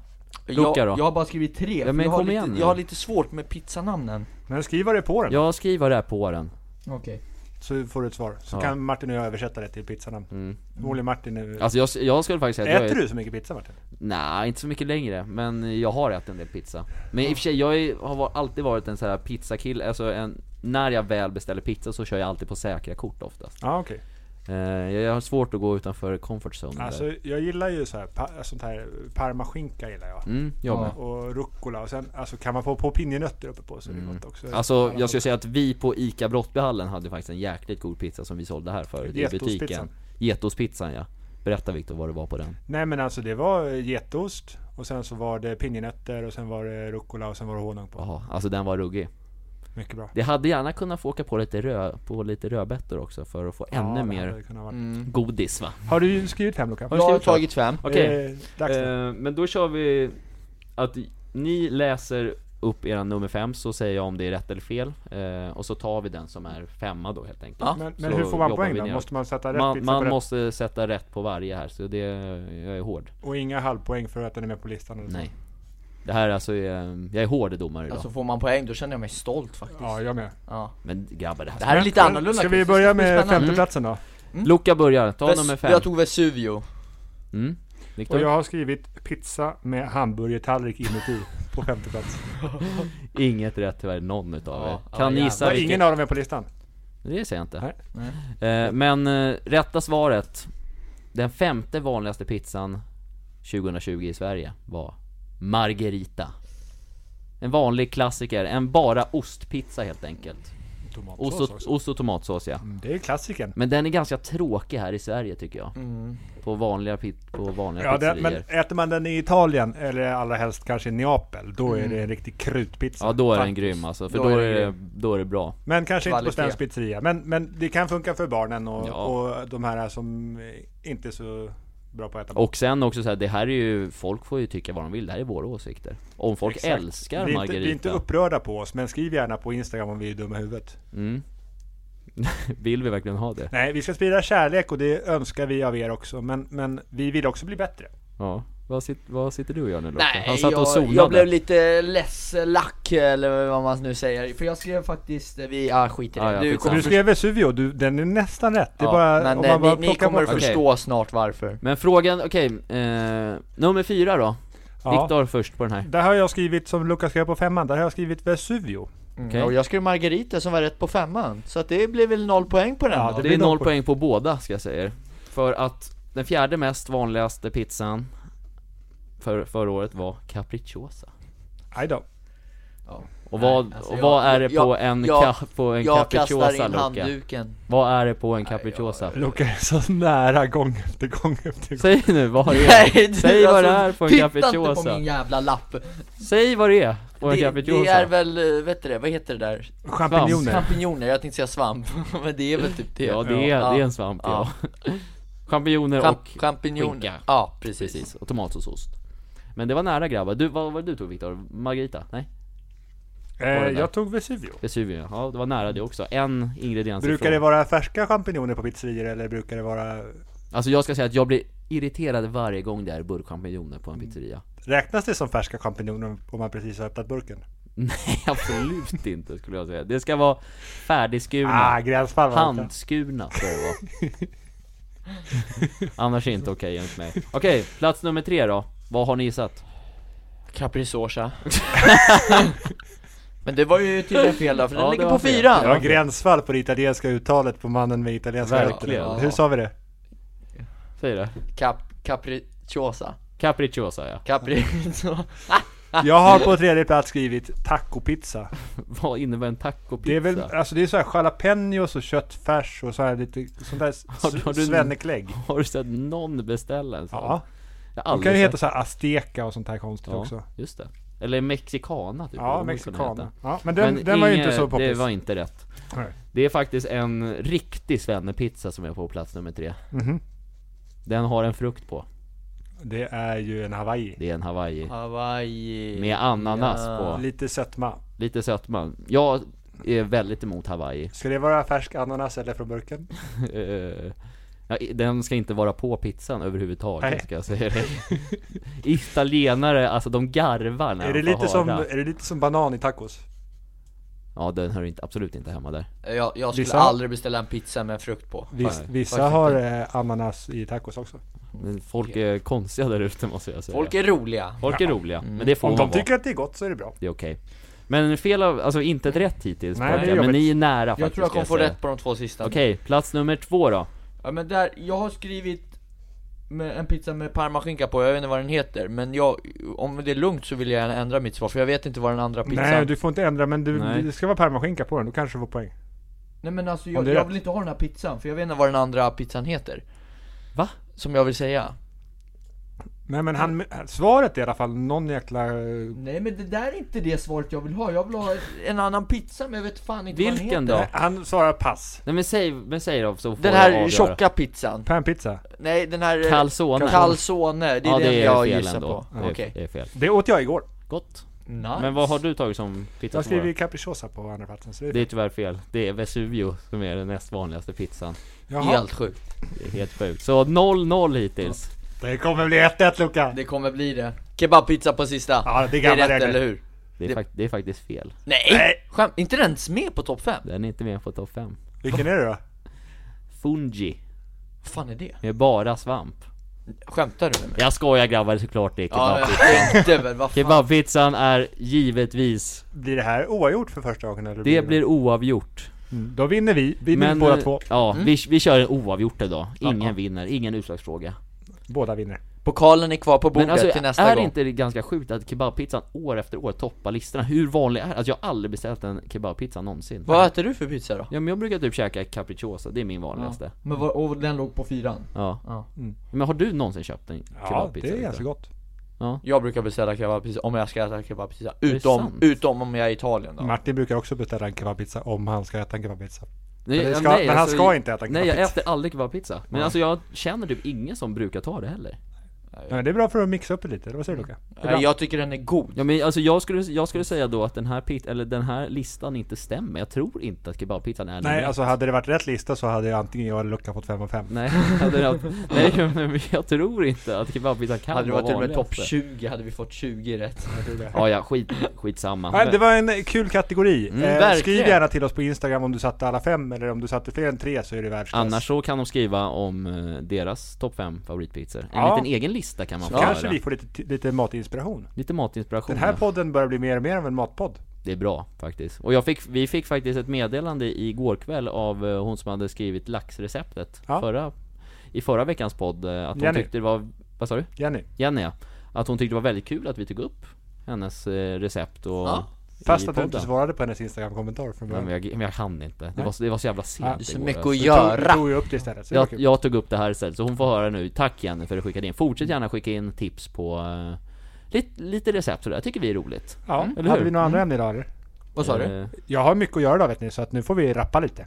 S3: Jag,
S2: Luca då?
S3: jag har bara skrivit tre, för
S2: men
S3: jag, har
S2: kom igen
S3: lite,
S2: nu.
S3: jag har lite svårt med pizzanamnen.
S1: Men skriv vad det är på den.
S2: Jag skriver det här på den
S3: Okej.
S1: Så får du ett svar. Så
S2: Ja.
S1: kan Martin och jag översätta det till pizzanamn.
S2: mm.
S1: Förmodligen Martin är...
S2: Alltså jag, jag skulle faktiskt säga att jag
S1: Äter
S2: är,
S1: du så mycket pizza Martin?
S2: Nej, inte så mycket längre, men jag har ätit en del pizza Men i och för sig, jag är, har var, alltid varit en sån här pizzakille, alltså en, när jag väl beställer pizza så kör jag alltid på säkra kort oftast
S1: Ja okej.
S2: eh, Jag har svårt att gå utanför comfort zone där.
S1: Alltså jag gillar ju så här, pa, sånt här parmaskinka gillar jag.
S2: mm, jag med.
S1: Och rucola och sen alltså kan man få på pinjenötter uppe på så är det gott också.
S2: Alltså jag skulle säga att vi på ICA Brottbyhallen hade faktiskt en jäkligt god pizza som vi sålde här förut i
S1: Getospizza.
S2: butiken Getospizzan ja Berätta Viktor vad det var på den
S1: Nej men alltså det var getost och sen så var det pinjenötter och sen var det rucola och sen var det honung på.
S2: Jaha, alltså den var ruggig
S1: Mycket bra.
S2: Det hade gärna kunnat få åka på lite, rö, på lite rödbetor också för att få
S1: Ja,
S2: ännu
S1: det hade Eh,
S2: mer
S1: det kunnat vara.
S2: Mm. godis va?
S1: Har du skrivit hem Luka?
S2: Har du
S3: Jag har
S2: skrivit klart?
S3: tagit fem.
S2: Okej,
S1: Det är dags nu.
S2: eh, men då kör vi att ni läser upp era nummer fem så säger jag om det är rätt eller fel eh, Och så tar vi den som är femma då helt enkelt
S3: Ja.
S1: Men,
S2: så
S1: men hur får man
S2: jobbar
S1: poäng
S2: vi
S1: då?
S2: ner.
S1: Måste man sätta rätt
S2: Man,
S1: pizza
S2: man
S1: på rätt?
S2: måste sätta rätt på varje här, så det, jag är hård
S1: Och inga halvpoäng för att den är med på listan? eller så?
S2: Nej. Det här alltså är, jag är hård domare idag.
S3: Alltså får man poäng då känner jag mig stolt faktiskt.
S1: Ja, jag med.
S3: Ja.
S2: men grabbar det här.
S3: Det här är
S1: Men,
S3: lite annorlunda
S1: Ska vi
S3: quiz, det
S1: börja
S3: ska bli
S1: med
S3: spännande. Mm.
S1: femteplatsen då?
S2: Luca börjar, ta
S3: Ves-
S2: nummer fem.
S3: Jag tog Vesuvio.
S2: Mm.
S1: Och
S2: Viktor?
S1: jag har skrivit pizza med hamburgertallrik inuti på femte plats.
S2: Inget rätt tyvärr, någon utav
S3: Ja,
S2: er.
S3: ja,
S2: Kan ni
S3: jävlar.
S2: gissa
S1: Och
S2: vilken?
S1: ingen av dem är på listan.
S2: Det säger jag inte.
S1: Nej.
S2: Eh, men eh, rätta svaret. Den femte vanligaste pizzan 2020 i Sverige var Margherita. En vanlig klassiker, en bara ostpizza helt enkelt. Ost
S1: Tomatsås
S2: och,
S1: också.
S2: ost och tomatsås ja.
S1: Mm, Det är klassikern.
S2: Men den är ganska tråkig här i Sverige tycker jag.
S3: Mm.
S2: På vanliga, pit- på vanliga
S1: Ja, det,
S2: pizzerier.
S1: men äter man den i Italien, eller allra helst kanske i Neapel, då
S3: Mm.
S1: är det en riktig krutpizza.
S2: Ja då är den grym alltså, för då,
S3: Då är
S2: är
S3: den
S2: det, då är det bra
S1: Men kanske inte på
S3: Kvalitet.
S1: svensk pizzeria. Men, men det kan funka för barnen och,
S2: Ja.
S1: och de här som inte är så bra på att äta.
S2: Och sen också så här, det här är ju, folk får ju tycka vad de vill, det här är våra åsikter Om folk
S1: Exakt.
S2: älskar
S1: vi är, inte,
S2: Margarita
S1: vi är inte upprörda på oss, men skriv gärna på Instagram om vi är dumma i huvudet.
S2: mm. Vill vi verkligen ha det?
S1: Nej, vi ska sprida kärlek och det önskar vi av er också. Men, men vi vill också bli bättre.
S2: Ja, vad, sit, vad sitter du och gör nu Lotta?
S3: Nej,
S2: Han satt och
S3: jag,
S2: zonade
S3: jag blev lite less lack eller vad man nu säger. För jag skrev faktiskt, eh, vi, ja skit i det.
S2: Ja, ja,
S3: du
S2: skitsamma.
S3: kommer,
S1: Du
S2: förstå-
S1: skrev Vesuvio, du, den är nästan rätt. Det är
S3: ja,
S1: bara,
S3: men
S1: om
S3: eh,
S1: man bara
S3: ni, ni
S1: plockar
S3: kommer
S1: bort-
S2: Okej. Mm.
S3: förstå snart varför.
S2: Men frågan, okej, eh, nummer fyra då?
S1: Ja.
S2: Viktor först på den här
S1: Där har jag skrivit, som Lukas skrev på femman, där har jag skrivit Vesuvio.
S3: Mm.
S2: Okej.
S3: Och jag skrev Margarita som var rätt på femman. Så att det blev väl noll poäng på den
S1: Ja, det
S3: då.
S2: Det
S1: blir
S2: är noll
S1: noll poäng.
S2: poäng på båda ska jag säga er. För att den fjärde mest vanligaste pizzan för, förra året var capricciosa
S1: Aj då.
S2: Och
S3: Nej,
S2: vad,
S3: alltså
S2: och
S3: jag-
S2: vad är det på
S3: jag-
S2: en,
S3: jag-
S2: ka, på en
S3: Jag kastar
S2: capricciosa
S3: in
S2: Loka?
S3: handduken.
S2: Vad är det på en capricciosa?
S1: Lukas är så nära gång efter gång efter gång.
S2: Säg nu vad det är,
S3: du,
S2: säg vad det är på en
S3: alltså titta inte på
S2: capricciosa
S3: min jävla lapp.
S2: Säg vad det är på en
S3: Det, det är
S2: capricciosa
S3: väl, eh, vet du det, vad heter det där?
S1: Champinjoner.
S3: Champinjoner, jag tänkte säga svamp, men det är väl typ det?
S2: Ja det är,
S3: Ja.
S2: det är en svamp ja, Champinjoner och,
S3: Champ- champinjoner.
S2: skinka.
S3: Ja, precis.
S2: precis, och tomatsåsost Men det var nära grabbar, du, vad var det du tog Viktor? Margarita? Nej?
S1: Eh,
S2: det där?
S1: jag tog Vesuvio.
S2: Vesuvio, ja det var nära det också, en ingrediens
S1: Brukar
S2: ifrån.
S1: det vara färska champinjoner på pizzerior eller brukar det vara...
S2: Alltså jag ska säga att jag blir irriterad varje gång det är burkchampinjoner på en pizzeria
S1: Räknas det som färska champinjoner om man precis har öppnat burken?
S2: Nej absolut inte skulle jag säga, det ska vara färdigskurna
S1: Ah, gränsfall var det inte.
S2: Handskurna ska det vara Annars är inte okej enligt mig Okej, plats nummer tre då, vad har ni gissat?
S3: Capricciosa. men det var ju tydligen fel då, för den
S2: Ja, det
S3: ligger
S2: var
S3: på
S2: fel.
S3: fyra.
S1: Det var gränsfall på det italienska uttalet på mannen med italienska
S2: Verkligen.
S1: rötter. Hur sa vi det?
S2: Säg det
S3: Cap- capricciosa.
S2: Capricciosa ja,
S3: Capricciosa.
S1: Jag har på tredje plats skrivit tacopizza.
S2: vad innebär en tacopizza?
S1: Det är väl, alltså det är så här jalapenos och köttfärs och så här lite sånt där s-
S2: Har du- har du-
S1: svenneklägg.
S2: Har du sett någon beställa en sån?
S1: Ja, de
S2: Jag har
S1: kan
S2: aldrig
S1: ju
S2: sett-
S1: heta så här azteca och sånt här konstigt
S2: ja,
S1: också.
S2: just det Eller mexicana typ
S1: Ja,
S2: de måste kunna heta.
S1: mexikaner. Ja, men den, den var ju
S2: inget-
S1: inte så
S2: Det
S1: poppis.
S2: var inte rätt
S1: Nej.
S2: Det är faktiskt en riktig svennepizza som är på plats nummer tre
S1: Mhm.
S2: Den har en frukt på,
S1: Det är ju en hawaii.
S2: det är en hawaii
S3: Hawaii.
S2: Med ananas
S3: Ja.
S2: på,
S1: Lite sötma.
S2: lite sötma Jag är väldigt emot hawaii
S1: Ska det vara färsk ananas eller från burken?
S2: Eh, Ja, i- den ska inte vara på pizzan överhuvudtaget
S1: Nej.
S2: ska jag säga det. Italienare, alltså de garvar när
S1: Är
S2: de
S1: det, lite
S2: får
S1: som,
S2: höra.
S1: är det lite som banan i tacos?
S2: Ja den hör inte, absolut inte hemma där.
S3: Jag, jag skulle
S1: Vissa-
S3: aldrig beställa en pizza med frukt på
S1: Viss,
S2: Nej,
S1: vissa
S3: faktiskt
S1: har eh, ananas i tacos också.
S2: Men folk är konstiga där ute måste jag säga.
S3: Folk är Mm. roliga
S2: Folk är roliga, men det får
S1: Om
S2: man
S1: de
S2: vara.
S1: tycker att det är gott så är det bra.
S2: Det är okej. Men fel av, alltså inte ett rätt hittills
S1: Nej,
S2: Nej,
S1: det är
S2: men
S1: jobbigt.
S2: ni är nära faktiskt
S3: Jag tror jag
S2: ska
S3: kommer få
S2: säga.
S3: rätt på de två sista
S2: Okej, plats nummer två då.
S3: Ja men där, jag har skrivit med en pizza med parmaskinka på, jag vet inte vad den heter Men jag, om det är lugnt så vill jag gärna ändra mitt svar för jag vet inte vad den andra pizzan
S1: Nej, du får inte ändra men du,
S2: Liksom. Nej.
S1: det ska vara parmaskinka på den, då kanske du får poäng.
S3: Nej men alltså
S1: Om
S3: jag,
S1: det är
S3: jag
S1: rätt.
S3: vill inte ha den här pizzan för jag vet inte vad den andra pizzan heter
S2: Va?
S3: Som jag vill säga
S1: Nej men han, svaret är i alla fall någon jäkla... eh,
S3: Nej men det där är inte det svaret jag vill ha, jag vill ha en annan pizza men jag vet fan inte vad den
S2: Vilken
S3: heter
S2: då?
S1: Nej, Han svarar pass.
S2: Nej men säg, men säg då så får
S3: Den
S2: jag
S3: här
S2: avgöra.
S3: tjocka pizzan
S1: Panpizza.
S3: Nej den här eh,
S2: Calzone.
S3: Calzone, det är
S2: Ja
S3: den
S2: det är
S3: jag
S2: fel
S3: gissar
S2: ändå.
S3: på
S2: Det är,
S3: Okej
S2: det är fel.
S1: Det åt jag igår.
S2: Gott.
S3: nice.
S2: Men vad har du tagit som pizza?
S1: Jag
S2: som var-
S1: skriver capricciosa på andra platsen. Så det är...
S2: Det är tyvärr fel. Det är Vesuvio som är den näst vanligaste pizzan.
S1: Jaha.
S3: Helt sjukt
S2: Det är helt sjukt. Så 0-0 hittills.
S1: Det kommer bli 1-1 Luka.
S3: Det kommer bli det Kebabpizza på sista
S1: Ja, det är
S3: Det är
S1: gamla
S3: rätt eller
S1: regler.
S3: hur?
S2: Det är,
S3: Det-
S2: fak- det är faktiskt fel.
S3: Nej!
S1: Nej.
S3: Skämt, inte den ens med på topp 5?
S2: Den är inte med på topp 5.
S1: Vilken är det då?
S2: Fungi.
S3: Vad fan är det?
S2: Med bara svamp.
S3: Skämtar du med mig?
S2: Jag skojar grabbar, såklart det är
S3: Ja,
S2: kebab.
S3: jag tänkte väl, vad fan?
S2: Kebabpizzan är givetvis,
S1: Blir det här oavgjort för första gången? Eller
S2: det blir oavgjort.
S1: Mm, Då vinner vi. Vi vinner båda
S2: eh,
S1: två.
S2: ja,
S3: Mm.
S2: vi, vi kör en oavgjort idag. Ingen
S1: Ja.
S2: vinner, ingen utslagsfråga.
S1: Båda vinner.
S3: Pokalen är kvar på bordet
S2: Men alltså,
S3: till nästa
S2: är
S3: gång
S2: inte det ganska sjukt att kebabpizzan år efter år toppar listorna? Hur vanlig är Alltså jag har aldrig beställt en kebabpizza någonsin.
S3: Vad äter du för pizza då?
S2: Ja men jag brukar typ käka capricciosa, det är min vanligaste.
S3: Men vad, och den låg på fyran?
S2: Ja.
S3: Ja. Mm.
S2: Men har du någonsin köpt en
S1: Ja,
S2: kebabpizza?
S1: det är
S2: ute?
S1: ganska gott.
S3: Jag brukar beställa kebabpizza om jag ska äta kebabpizza,
S2: det
S3: utom,
S2: sant?
S3: utom om jag är i Italien då
S1: Martin brukar också beställa en kebabpizza om han ska äta en kebabpizza.
S2: Nej,
S1: Men det
S2: ja,
S1: ska- men han ska inte äta
S2: Nej jag
S1: kebabpizza.
S2: äter aldrig kebabpizza. Men alltså jag känner typ ingen som brukar ta det heller.
S1: Men det är bra för att mixa upp det lite, eller vad säger du Luka?
S3: Nej, Jag tycker den är god
S2: Ja men alltså jag skulle, jag skulle säga då att den här pit, eller den här listan inte stämmer. Jag tror inte att kebabpizzan är
S1: Nej,
S2: nummer
S1: alltså hade det varit rätt lista så hade jag antingen jag eller Luka fått 5 av 5.
S2: Nej, hade jag, nej men jag tror inte att kebabpizzan kan
S3: Hade det
S2: vara
S3: varit till och med topp
S2: vanligaste.
S3: 20 hade vi fått 20 rätt
S2: Ja, ja skit, skitsamma.
S1: Nej, det var en kul kategori. eh,
S3: verkligen.
S1: skriv gärna till oss på Instagram om du satte alla fem, eller om du satte fler än tre så är det världsklass.
S2: Annars så kan de skriva om eh, deras topp 5 favoritpizzor. En
S1: Ja.
S2: liten egen lista kan man få
S1: Kanske
S2: göra.
S1: vi får lite, lite matinspiration.
S2: Lite matinspiration.
S1: Den här
S2: ja.
S1: podden börjar bli mer och mer av en matpodd.
S2: Det är bra faktiskt. Och jag fick, vi fick faktiskt ett meddelande igår kväll av eh, hon som hade skrivit laxreceptet
S1: Ja.
S2: förra, i förra veckans podd. eh, Att hon
S1: Jenny.
S2: tyckte det var, vad sa du?
S1: Jenny.
S2: Jenny ja. Att hon tyckte det var väldigt kul att vi tog upp hennes eh, recept och
S3: Ja.
S2: i
S1: Fast att du inte
S2: podden.
S1: svarade på hennes Instagram-kommentar från
S2: Nej,
S1: början.
S2: men, jag, men jag hann inte. Det var, så- det var så jävla sent
S1: Ja.
S3: Det är så
S2: igår,
S3: mycket
S2: alltså.
S3: att
S1: Du tog- du
S3: göra
S1: tog ju upp det istället, så det var
S2: jag,
S1: kul.
S2: jag tog upp det här istället, så hon får höra nu. Tack Jenny för att du skickade in. Fortsätt gärna skicka in tips på eh, lite, lite recept sådär. tycker vi är roligt.
S1: Ja,
S2: eller
S1: hade
S2: hur?
S1: vi några andra ämnen idag eller?
S3: Vad sa du?
S2: Eh,
S1: Jag har mycket att göra idag vet ni, så att nu får vi rappa lite.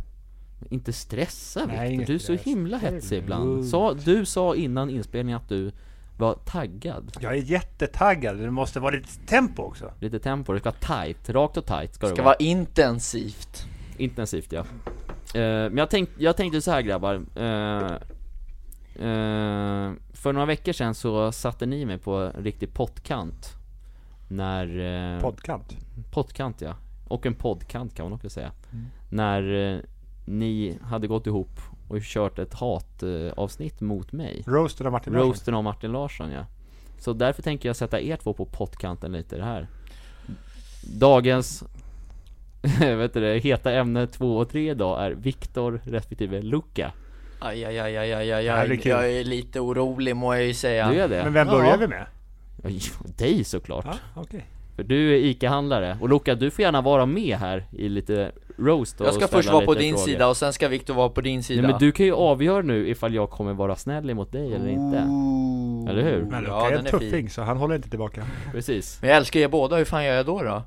S2: Inte stressa
S1: Nej,
S2: Viktor,
S1: inget
S2: du är så
S1: stress. Mm.
S2: himla
S1: Det är
S2: hetsig ibland.
S1: lugnt.
S2: Sa, du sa innan inspelningen att du var taggad.
S1: Jag är jättetaggad, det måste vara lite tempo också.
S2: Lite tempo, det ska vara tight, rakt och tight ska,
S3: Ska
S2: det vara.
S3: vara intensivt
S2: Intensivt ja. Eh, men jag, tänk, jag tänkte så här grabbar. Eh, eh, för några veckor sedan så satte ni mig på en riktig pottkant. När... eh,
S1: Poddkant.
S2: Pottkant ja. Och en poddkant kan man också säga.
S1: Mm.
S2: När eh, ni hade gått ihop och kört ett hatavsnitt eh, avsnitt mot mig.
S1: Roasten av Martin Larsson.
S2: Roasten av Martin Larsson ja. Så därför tänker jag sätta er två på pottkanten lite i det här. Dagens, vet du det, heta ämne 2 och 3 idag är Viktor respektive Luca.
S3: Aj, aj, aj, aj, aj, aj,
S1: Det här blir
S3: aj.
S1: kul.
S3: Jag är lite orolig må jag ju säga
S2: Du är det?
S1: Men vem börjar
S3: Ja.
S1: vi med?
S2: Oj, dig såklart.
S1: Ja, okej.
S2: För du är ICA-handlare. Och Luca, du får gärna vara med här i lite roast och
S3: Jag ska
S2: ställa
S3: först vara på
S2: lite
S3: din
S2: frågor.
S3: sida och sen ska Viktor vara på din sida
S2: Nej, men du kan ju avgöra nu ifall jag kommer vara snäll emot dig eller inte.
S3: Ooh.
S2: Eller hur?
S1: Men Luka
S3: ja,
S1: är en
S3: den är fin
S1: tuffing så han håller inte tillbaka.
S2: Precis.
S3: Men jag älskar er båda, hur fan gör jag då då?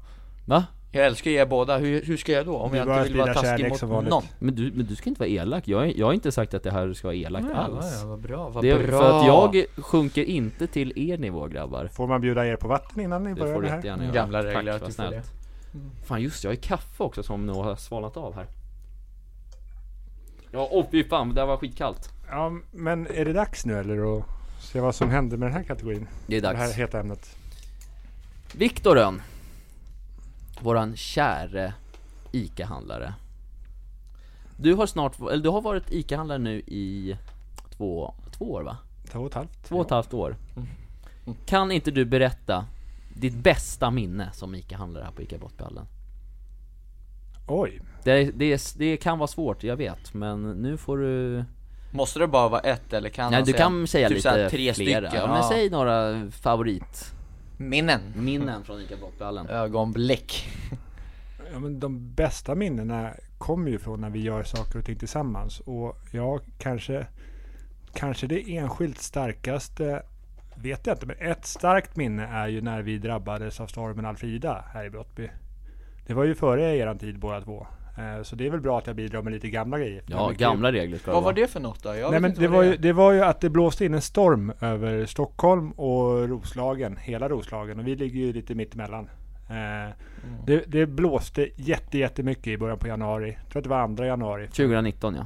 S2: Va?
S3: Jag älskar er båda, hur, hur ska jag då? Om
S1: Det är
S3: jag
S1: bara
S3: inte
S1: att
S3: vill
S1: sprida
S3: vara taskig
S1: kärlek
S3: mot
S1: som vanligt.
S3: någon?
S2: Men du, men du ska inte vara elak. Jag, är- jag har inte sagt att det här ska vara elakt alls.
S3: Ja, vad bra, vad
S2: Det är
S3: bra
S2: för att jag sjunker inte till er nivå grabbar.
S1: Får man bjuda er på vatten innan ni
S2: Det
S1: börjar
S2: får du
S1: med det här? Mm.
S2: jättegärna göra.
S3: Gamla regler
S2: Tack,
S3: att
S2: vad
S3: du får
S2: snällt. Fan just det, jag har ju kaffe också som nog har svalnat av här. Ja, åh fy fan, det här var skitkallt.
S1: Ja, men är det dags nu eller att se vad som händer med den här kategorin?
S2: Det är
S1: Det här
S2: dags.
S1: heta ämnet.
S2: Viktorön. Våran käre ICA-handlare. Du har snart, eller du har varit ICA-handlare nu i två, två år va?
S1: Två och ett halvt.
S2: Två och ett halvt år.
S1: Mm.
S2: Kan inte du berätta ditt bästa minne som ICA-handlare här på ICA Brottballen?
S1: Oj.
S2: Det, det, är- det kan vara svårt, jag vet, men nu får du...
S3: Måste det bara vara ett eller kan
S2: Nej
S3: man
S2: du kan säga
S3: typ
S2: lite
S3: så här tre
S2: flera.
S3: stycken?
S2: Ja, men säg några favoritminnen
S3: Minnen.
S2: från ICA Brottballen.
S3: Ögonblick.
S1: Ja, men de bästa minnena kommer ju från när vi gör saker och ting tillsammans. Och jag kanske, kanske det enskilt starkaste, vet jag inte, men ett starkt minne är ju när vi drabbades av stormen Alfrida här i Brottby. Det var ju före eran tid båda två. Eh, Så det är väl bra att jag bidrar med lite gamla grejer. Det
S2: Ja,
S1: var kul.
S2: gamla regler ska
S3: Vad var
S2: vara.
S3: det för något då? Jag
S1: Nej
S3: vet
S1: men
S3: inte
S1: det
S3: vad
S1: var,
S3: är.
S1: ju, det var ju att det blåste in en storm över Stockholm och Roslagen, hela Roslagen och vi ligger ju lite mittemellan. Eh, det, det blåste jätte, jättemycket i början på januari, jag tror att det var andra januari.
S2: 2019 ja.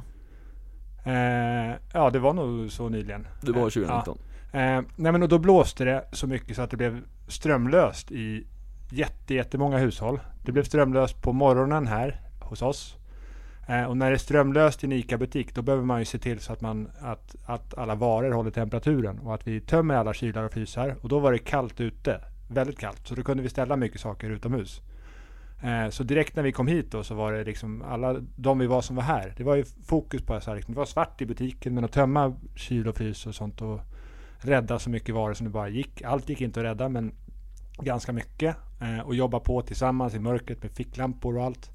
S1: Eh, ja det var nog så nyligen.
S2: Det var
S1: Eh,
S2: 2019.
S1: ja. Eh, nej men och då blåste det så mycket så att det blev strömlöst i jätte, jättemånga hushåll. Det blev strömlöst på morgonen här hos oss. Eh, och när det är strömlöst i en ICA-butik då behöver man ju se till så att, man, att, att alla varor håller temperaturen och att vi tömmer alla kylar och frysar. Och då var det kallt ute, väldigt kallt, så då kunde vi ställa mycket saker utomhus. Eh, så direkt när vi kom hit då så var det liksom alla de vi var som var här. Det var ju fokus på så här, liksom, det var svart i butiken men att tömma kyl och frys och sånt och rädda så mycket varor som det bara gick. Allt gick inte att rädda men ganska mycket eh, och jobba på tillsammans i mörkret med ficklampor och allt.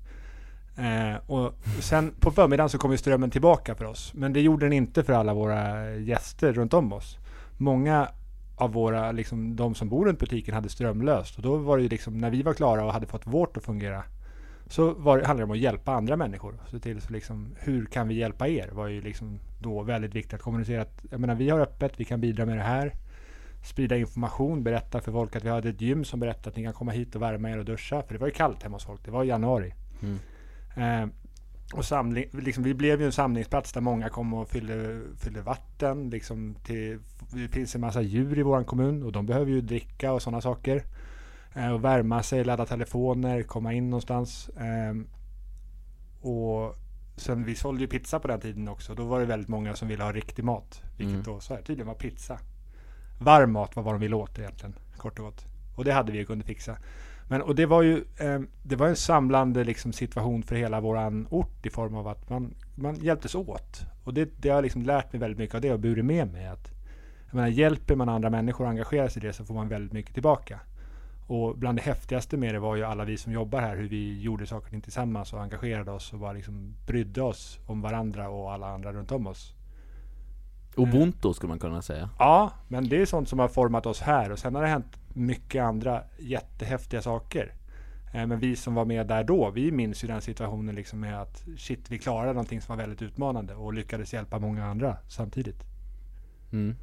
S1: Eh, och sen på förmiddagen så kom ju strömmen tillbaka för oss. Men det gjorde den inte för alla våra gäster runt om oss. Många av våra, liksom de som bor runt butiken hade strömlöst och då var det ju liksom när vi var klara och hade fått vårt att fungera så var det, handlade det om att hjälpa andra människor. Så till så liksom, hur kan vi hjälpa er? var ju liksom då väldigt viktigt att kommunicera att jag menar, vi har öppet, vi kan bidra med det här. Sprida information, berätta för folk att vi hade ett gym som berättade att ni kan komma hit och värma er och duscha. För det var ju kallt hemma hos folk, det var i januari. Eh, och samling, liksom, vi blev ju en samlingsplats där många kom och fyllde, fyllde vatten. Liksom till, det finns en massa djur i vår kommun och de behöver ju dricka och sådana saker. Eh, och värma sig, ladda telefoner, komma in någonstans. Ehm, och sen vi sålde ju pizza på den tiden också. Då var det väldigt många som ville ha riktig mat. Vilket då så här, tydligen var pizza. Varm mat var vad de ville åt egentligen, kort och gott. Och det hade vi ju kunnat fixa. Men, och det var ju ehm, det var en samlande liksom, situation för hela våran ort i form av att man, man hjälptes åt. Och det, det har jag liksom lärt mig väldigt mycket av det och burit med mig. Att, jag menar, hjälper man andra människor och engagerar sig i det så får man väldigt mycket tillbaka. Och bland det häftigaste med det var ju alla vi som jobbar här, hur vi gjorde saker och ting tillsammans och engagerade oss och bara liksom brydde oss om varandra och alla andra runt om oss.
S2: Ubuntu skulle man kunna säga.
S1: Ja, men det är sånt som har format oss här och sen har det hänt mycket andra jättehäftiga saker. Eh, Men vi som var med där då, vi minns ju den situationen liksom med att shit, vi klarade någonting som var väldigt utmanande och lyckades hjälpa många andra samtidigt.
S2: Men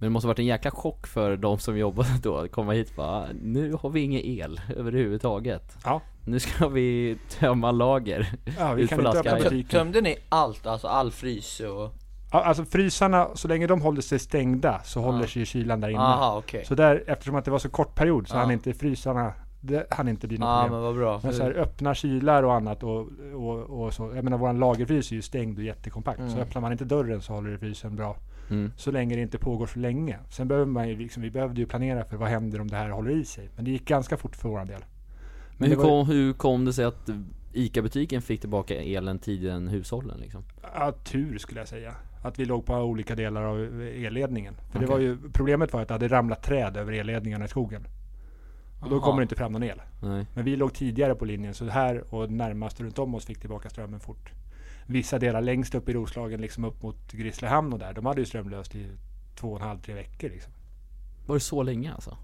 S2: det måste varit en jäkla chock för de som jobbade då, att komma hit och bara "Ah, Nu har vi ingen el överhuvudtaget.
S1: Ja,
S2: Nu ska vi tömma lager.
S1: ja vi
S2: Ut
S1: kan
S2: på
S1: inte öppna
S2: lastkajen.
S3: Tö-
S1: butiken.
S3: Tömde ni allt? Alltså all frys och...
S1: Ja, Alltså frysarna, så länge de håller sig stängda så håller sig kylan där inne.
S3: Aha, okej.
S1: Så där, eftersom att det var så kort period så hann inte frysarna, det hann inte bli något
S3: Ja men
S1: problem.
S3: vad bra.
S1: Men så här, öppna kylar och annat och, och, och så. Jag menar våran lagerfrys är ju stängd och jättekompakt.
S3: Mm.
S1: Så öppnar man inte dörren så håller det frysen bra. Så länge det inte pågår för länge. Sen behöver man ju liksom, vi behövde ju planera för vad händer om det här håller i sig. Men det gick ganska fort för våran del.
S2: Men hur,
S1: det var-
S2: kom, hur kom det sig att ICA-butiken fick tillbaka elen tidigare än hushållen liksom?
S1: Ja, tur skulle jag säga. Att vi låg på olika delar av elledningen. För det var ju, problemet var att det hade ramlat träd över elledningarna i skogen. Och då
S3: Aha.
S1: kommer det inte fram någon el.
S2: Nej.
S1: Men vi låg tidigare på linjen så här och närmast runt om oss fick tillbaka strömmen fort. Vissa delar längst upp i Roslagen, liksom upp mot Grisslehamn och där, de hade ju strömlöst i två och en halv, tre veckor. Liksom.
S2: Var det så länge alltså?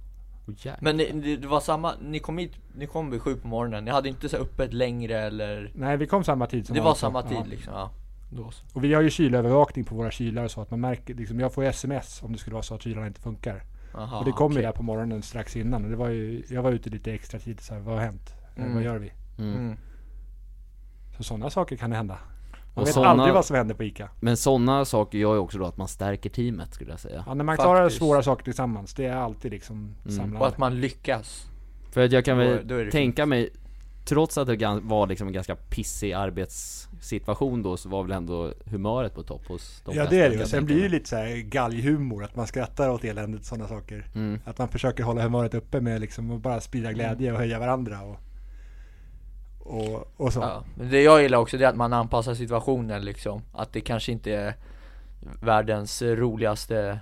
S2: Åh, jäklar.
S3: Men ni, ni- det var samma, ni kom hit, ni kom vid sju på morgonen, ni hade inte så här öppet längre eller?
S1: Nej, vi kom samma tid som
S3: Det var
S1: vanligt.
S3: samma tid
S1: Ja.
S3: liksom, ja. Då så.
S1: Och vi har ju kylövervakning på våra kylar så att man märker, liksom, jag får ju sms om det skulle vara så att kylarna inte funkar.
S3: Aha,
S1: och det kom ju
S3: Ah, okej.
S1: där på morgonen strax innan och det var ju, jag var ute lite extra tid så här, vad har hänt? Eh, Vad gör vi?
S2: Mm.
S1: Så sådana saker kan hända. Man
S2: Och
S1: vet
S2: såna-
S1: aldrig vad som händer på ICA.
S2: Men sådana saker gör ju också då att man stärker teamet skulle jag säga.
S1: Ja, när man klarar
S3: Faktiskt. Mm.
S1: svåra saker tillsammans, det är alltid liksom
S3: Och
S1: samlande.
S3: att man lyckas.
S2: För att jag kan
S3: Då-
S2: väl
S3: då är det
S2: tänka mig, trots att det gan- var liksom en ganska pissig arbetssituation då, så var väl ändå humöret på topp hos de
S1: Ja
S2: flesta,
S1: det är
S2: kan
S1: det ju.
S2: jag
S1: Sen
S2: tänka
S1: blir det ju
S2: mig.
S1: lite så här galghumor, att man skrattar åt eländet och sådana saker.
S3: Mm.
S1: Att man försöker hålla humöret uppe med liksom att bara sprida glädje och höja varandra och, och, och så.
S3: Ja. Men det jag gillar också det är att man anpassar situationen liksom. Att det kanske inte är världens roligaste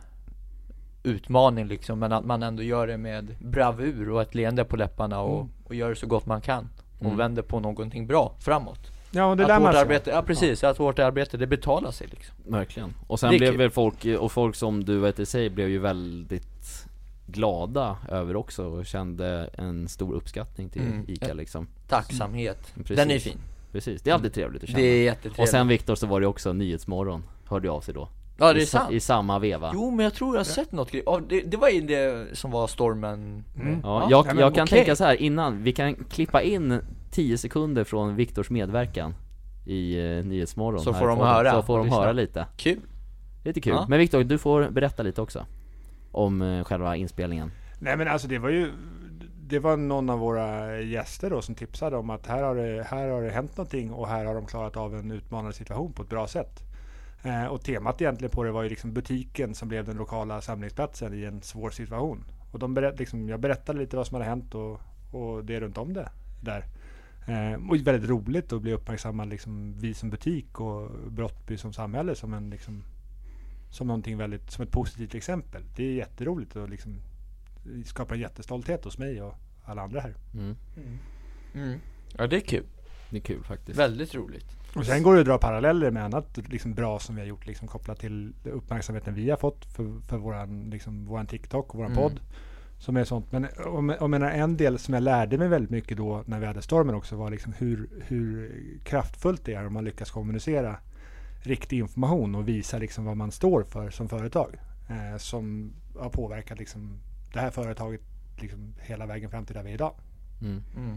S3: utmaning liksom. Men att man ändå gör det med bravur och ett leende på läpparna och,
S1: Mm.
S3: och gör det så gott man kan. Och vänder på någonting bra framåt.
S1: Ja, och Mm. det är där
S3: att
S1: man
S3: hårt
S1: ska.
S3: arbete, ja precis, att hårt arbete det betalar sig liksom.
S2: Verkligen. Och sen
S3: Det är
S2: blev
S3: kul.
S2: väl folk, och folk som du vet i sig blev ju väldigt glada över också och kände en stor uppskattning till
S3: Mm.
S2: ICA liksom.
S3: Tacksamhet,
S1: Mm.
S2: Precis.
S3: den är fin.
S2: Precis, det är alltid trevligt att känna.
S3: Det är jättetrevligt.
S2: Och sen Viktor så var det ju också Nyhetsmorgon, hörde jag av sig då.
S3: ja det
S2: I,
S3: är
S2: sa-
S3: sant.
S2: I samma veva.
S3: Jo men jag tror jag har sett något grej. Ja, det, det var ju det som var stormen Mm.
S2: Ja,
S3: Ja,
S2: jag,
S1: nej, men
S2: jag kan
S3: okej.
S2: tänka så här innan, vi kan klippa in 10 sekunder från Viktors medverkan i eh, Nyhetsmorgon
S3: Så
S2: här
S3: får de
S2: i podden.
S3: höra
S2: Så får de
S3: och lyssna.
S2: höra lite,
S3: Kul.
S2: lite kul.
S3: Ja.
S2: Men Viktor, du får berätta lite också Om eh, själva inspelningen
S1: Nej men alltså det var ju Det var någon av våra gäster då som tipsade om att här har det, här har det hänt någonting och här har de klarat av en utmanande situation på ett bra sätt. Eh, och temat egentligen på det var ju liksom butiken som blev den lokala samlingsplatsen i en svår situation. Och de berätt, liksom, jag berättade lite vad som hade hänt och, och det runt om det där. Eh, och väldigt roligt att bli uppmärksammad, liksom, vi som butik och Brottby som samhälle som en liksom, som någonting väldigt, som ett positivt exempel. Det är jätteroligt att liksom skapar en jättestolthet hos mig och alla andra här.
S3: Mm. Ja det är kul.
S2: Det är kul faktiskt
S3: Väldigt roligt.
S1: Och sen går det att dra paralleller med annat liksom bra som vi har gjort liksom kopplat till uppmärksamheten vi har fått för, för våran, liksom, våran TikTok och våran
S3: Mm.
S1: podd. Som är sånt. Men om, om jag menar, en del som jag lärde mig väldigt mycket då när vi hade stormen också var liksom hur, hur kraftfullt det är om man lyckas kommunicera riktig information och visa liksom vad man står för som företag. Eh, som har påverkat liksom det här företaget liksom hela vägen fram till där vi är idag.
S2: mm.
S3: Mm.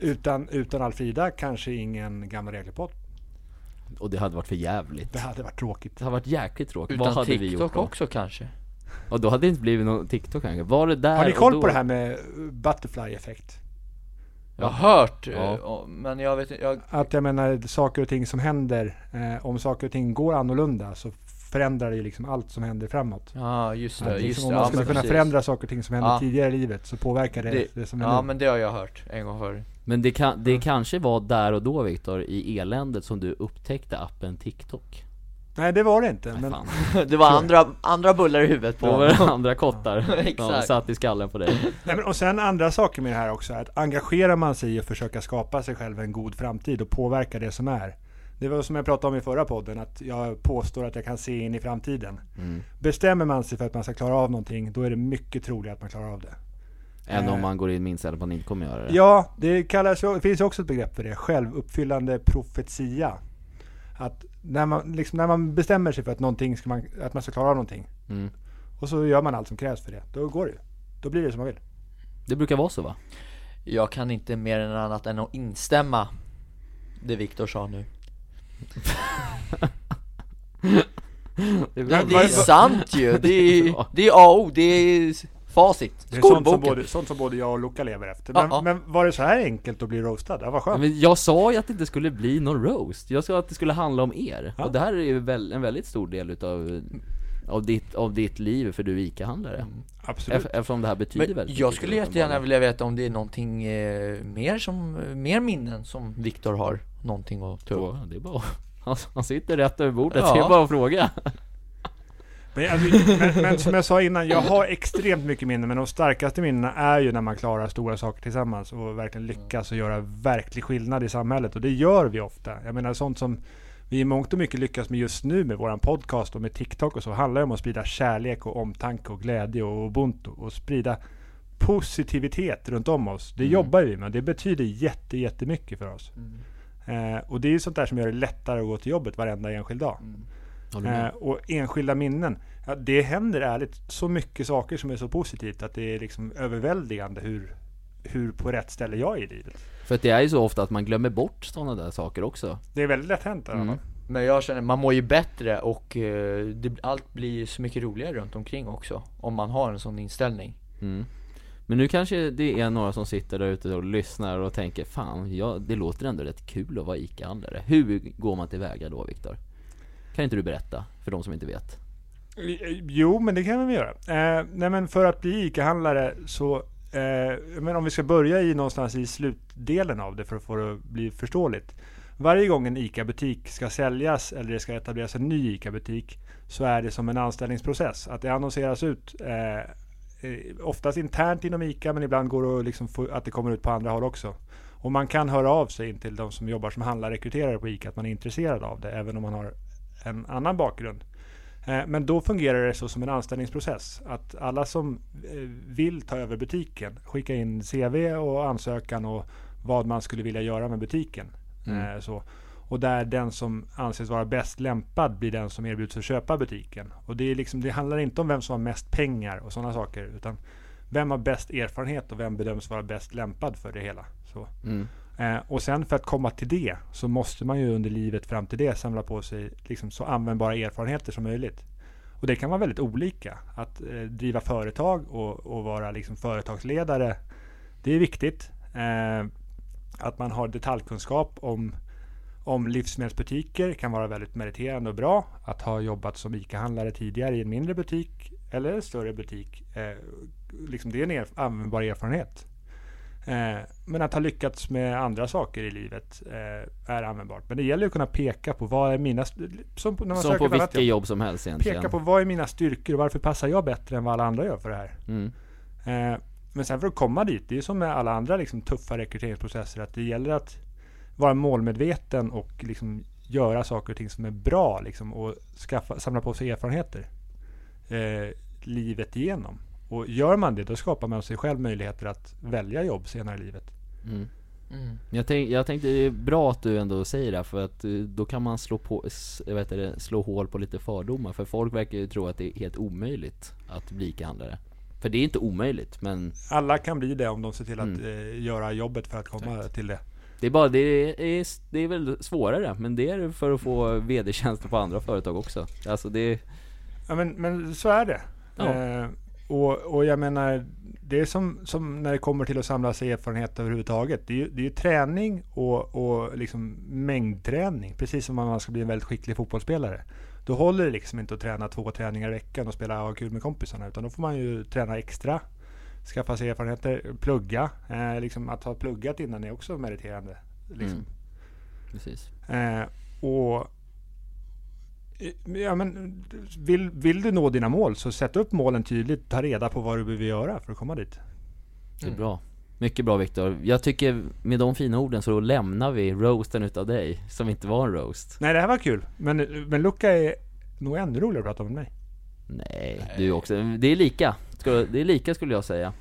S1: Utan, utan Alfrida kanske ingen gamla reglerpodd.
S2: Och det hade varit för jävligt
S1: Det hade varit tråkigt.
S2: Det hade varit jäkligt tråkigt,
S3: Utan
S2: vad hade
S3: TikTok
S2: vi gjort då?
S3: också kanske?
S2: Och då hade det inte blivit någon TikTok kanske, var det där
S1: Har ni
S2: och
S1: koll
S2: då?
S1: på det här med butterfly-effekt?
S3: Jag har hört, eh,
S2: Ja.
S3: och- men jag vet inte, jag...
S1: Att jag menar saker och ting som händer, eh, om saker och ting går annorlunda så förändrar det ju liksom allt som händer framåt.
S3: Ja just
S1: Att
S3: det, just
S1: liksom,
S3: det.
S1: om man
S3: ja,
S1: skulle
S3: men
S1: kunna
S3: precis.
S1: förändra saker och ting som händer
S3: Ja.
S1: tidigare i livet så påverkar det det,
S3: Det-
S1: som är
S3: Ja
S1: nu.
S3: men det har jag hört en gång förr.
S2: Men det, kan, det kanske var där och då Viktor, i eländet som du upptäckte appen TikTok
S1: Nej det var det inte. Men,
S2: Fan.
S3: Det var andra, andra bullar i huvudet på
S2: Då var det
S3: honom.
S2: andra kottar som
S3: Exakt.
S2: satt i skallen på dig
S1: nej, men, och sen andra saker med det här också. Att engagerar man sig i att försöka skapa sig själv en god framtid och påverka det som är. Det var som jag pratade om i förra podden, att jag påstår att jag kan se in i framtiden. Bestämmer man sig för att man ska klara av någonting, då är det mycket troligt att man klarar av det.
S2: Än
S1: Eh.
S2: om man går in med inställningen på att man inte kommer göra det
S1: Ja, det, kallas, det finns ju också ett begrepp för det, självuppfyllande profetia. Att när man, liksom, när man bestämmer sig för att, någonting ska man, att man ska klara av någonting
S2: Mm.
S1: och så gör man allt som krävs för det, då går det ju. Då blir det som man vill.
S2: Det brukar vara så va?
S3: Jag kan inte mer än annat än att instämma det Viktor sa nu.
S2: Det
S1: bra.
S3: Det är sant ju, det är, det är A och O, det är facit.
S1: Det är sånt som,
S3: Skolboken.
S1: både, sånt som både jag och Luca lever efter. Men,
S3: Ja, ja.
S1: men var det så här enkelt att bli roastad? Ja, vad skönt.
S2: Men jag sa ju att det inte skulle bli någon roast, jag sa att det skulle handla om er. Och det här är ju väl, en väldigt stor del utav av ditt, av ditt liv, för du är ICA-handlare.
S1: Absolut.
S2: Eff- Eftersom det här betyder
S3: Mm, Men
S2: väldigt
S3: jag
S2: mycket
S3: skulle
S2: för dig,
S3: jättegärna
S2: uppenbarligen.
S3: vilja veta om det är någonting eh, mer som, eh, mer minnen som Viktor har någonting att ta upp.
S2: Fråga, Det är bara han, han sitter rätt över bordet,
S3: Ja.
S2: det är bara att fråga.
S1: Men, alltså, men, men som jag sa innan, jag har extremt mycket minnen. Men de starkaste minnena är ju när man klarar stora saker tillsammans och verkligen lyckas och göra verklig skillnad i samhället. Och det gör vi ofta. Jag menar sånt som vi i mångt och mycket lyckas med just nu med våran podcast och med TikTok och så handlar det om att sprida kärlek och omtanke och glädje och ubuntu och sprida positivitet runt om oss. Det jobbar vi med. Det betyder jätte, jättemycket för oss. Eh, och det är ju sånt där som gör det lättare att gå till jobbet varenda enskild dag.
S2: Mm.
S1: Eh, och enskilda minnen. Ja, det händer ärligt så mycket saker som är så positivt att det är liksom överväldigande hur, hur på rätt ställe jag är i livet.
S2: För att det är ju så ofta att man glömmer bort sådana där saker också.
S1: Det är väldigt lätt hänt i alla fall.
S3: Men jag känner, man mår ju bättre och eh, det, allt blir så mycket roligare runt omkring också Om man har en sån inställning
S2: Men nu kanske det är några som sitter där ute och lyssnar och tänker Fan, ja, det låter ändå rätt kul att vara ICA-handlare Hur går man tillväga då Viktor? Kan inte du berätta för de som inte vet?
S1: Jo, men det kan vi göra. Eh, nej, men för att bli ICA-handlare så, eh, men om vi ska börja i någonstans i slutdelen av det för att få det att bli förståeligt. Varje gång en ICA-butik ska säljas eller det ska etableras en ny ICA-butik så är det som en anställningsprocess. Att det annonseras ut, eh, eh, oftast internt inom ICA men ibland går det att liksom få, att det kommer ut på andra håll också. Och man kan höra av sig in till de som jobbar som handlarrekryterare på ICA att man är intresserad av det även om man har en annan bakgrund. Eh, Men då fungerar det så som en anställningsprocess. Att alla som eh, vill ta över butiken skickar in CV och ansökan och vad man skulle vilja göra med butiken.
S2: Mm.
S1: Eh, Så. Och där den som anses vara bäst lämpad blir den som erbjuds att köpa butiken. Och det, är liksom, det handlar inte om vem som har mest pengar och sådana saker. Utan vem har bäst erfarenhet och vem bedöms vara bäst lämpad för det hela. Så. Eh, och sen för att komma till det så måste man ju under livet fram till det samla på sig liksom, så användbara erfarenheter som möjligt. Och det kan vara väldigt olika. Att eh, driva företag och, och vara liksom, företagsledare, det är viktigt. Eh, att man har detaljkunskap om, om livsmedelsbutiker kan vara väldigt meriterande och bra. Att ha jobbat som ICA-handlare tidigare i en mindre butik eller en större butik, eh, liksom, det är en er, användbar erfarenhet. Eh, Men att ha lyckats med andra saker i livet eh, är användbart. Men det gäller ju att kunna peka på vad är mina... st- Som på, när man
S2: Som
S1: söker
S2: på
S1: ett annat
S2: vilka
S1: jobb.
S2: jobb som helst egentligen
S1: Peka på vad är mina styrkor och varför passar jag bättre än vad alla andra gör för det här.
S2: mm.
S1: Eh, Men sen för att komma dit, det är ju som med alla andra liksom, tuffa rekryteringsprocesser att det gäller att vara målmedveten och liksom, göra saker och ting som är bra liksom, och skaffa, samla på sig erfarenheter eh, livet igenom. Och gör man det, då skapar man sig själv möjligheter att välja jobb senare i livet.
S2: Mm. Jag, tänk, jag tänkte det är bra att du ändå säger det här, för att eh, då kan man slå, på, s- vad heter det, slå hål på lite fördomar För folk verkar ju tro att det är helt omöjligt att bli ICA-handlare För det är inte omöjligt men
S1: Alla kan bli det om de ser till att eh, göra jobbet för att komma till det.
S2: Det är bara, det är, det är väl svårare, men det är det för att få VD-tjänster på andra företag också. Alltså det,
S1: Ja, men, men så är det.
S2: Ja.
S1: Eh, och, och jag menar, det är som, som när det kommer till att samla sig erfarenhet överhuvudtaget. Det är ju, det är ju träning och, och liksom mängdträning. Precis som om man ska bli en väldigt skicklig fotbollsspelare. Då håller det liksom inte att träna två träningar i veckan och spela och ha kul med kompisarna. Utan då får man ju träna extra. Skaffa sig erfarenheter, plugga. Eh, liksom att ha pluggat innan är också meriterande. Liksom.
S2: Mm. precis.
S3: Mm.
S1: Eh, och eh, ja, men, vill, vill du nå dina mål så sätt upp målen tydligt. Ta reda på vad du behöver göra för att komma dit.
S2: Det är bra. Mycket bra Viktor. Jag tycker med de fina orden så lämnar vi roasten utav dig, som inte var en roast.
S1: Nej, det här var kul. Men, men Luca är nog ännu roligare att prata om än mig.
S2: Nej, du också. Det är lika, Ska- det är lika skulle jag säga.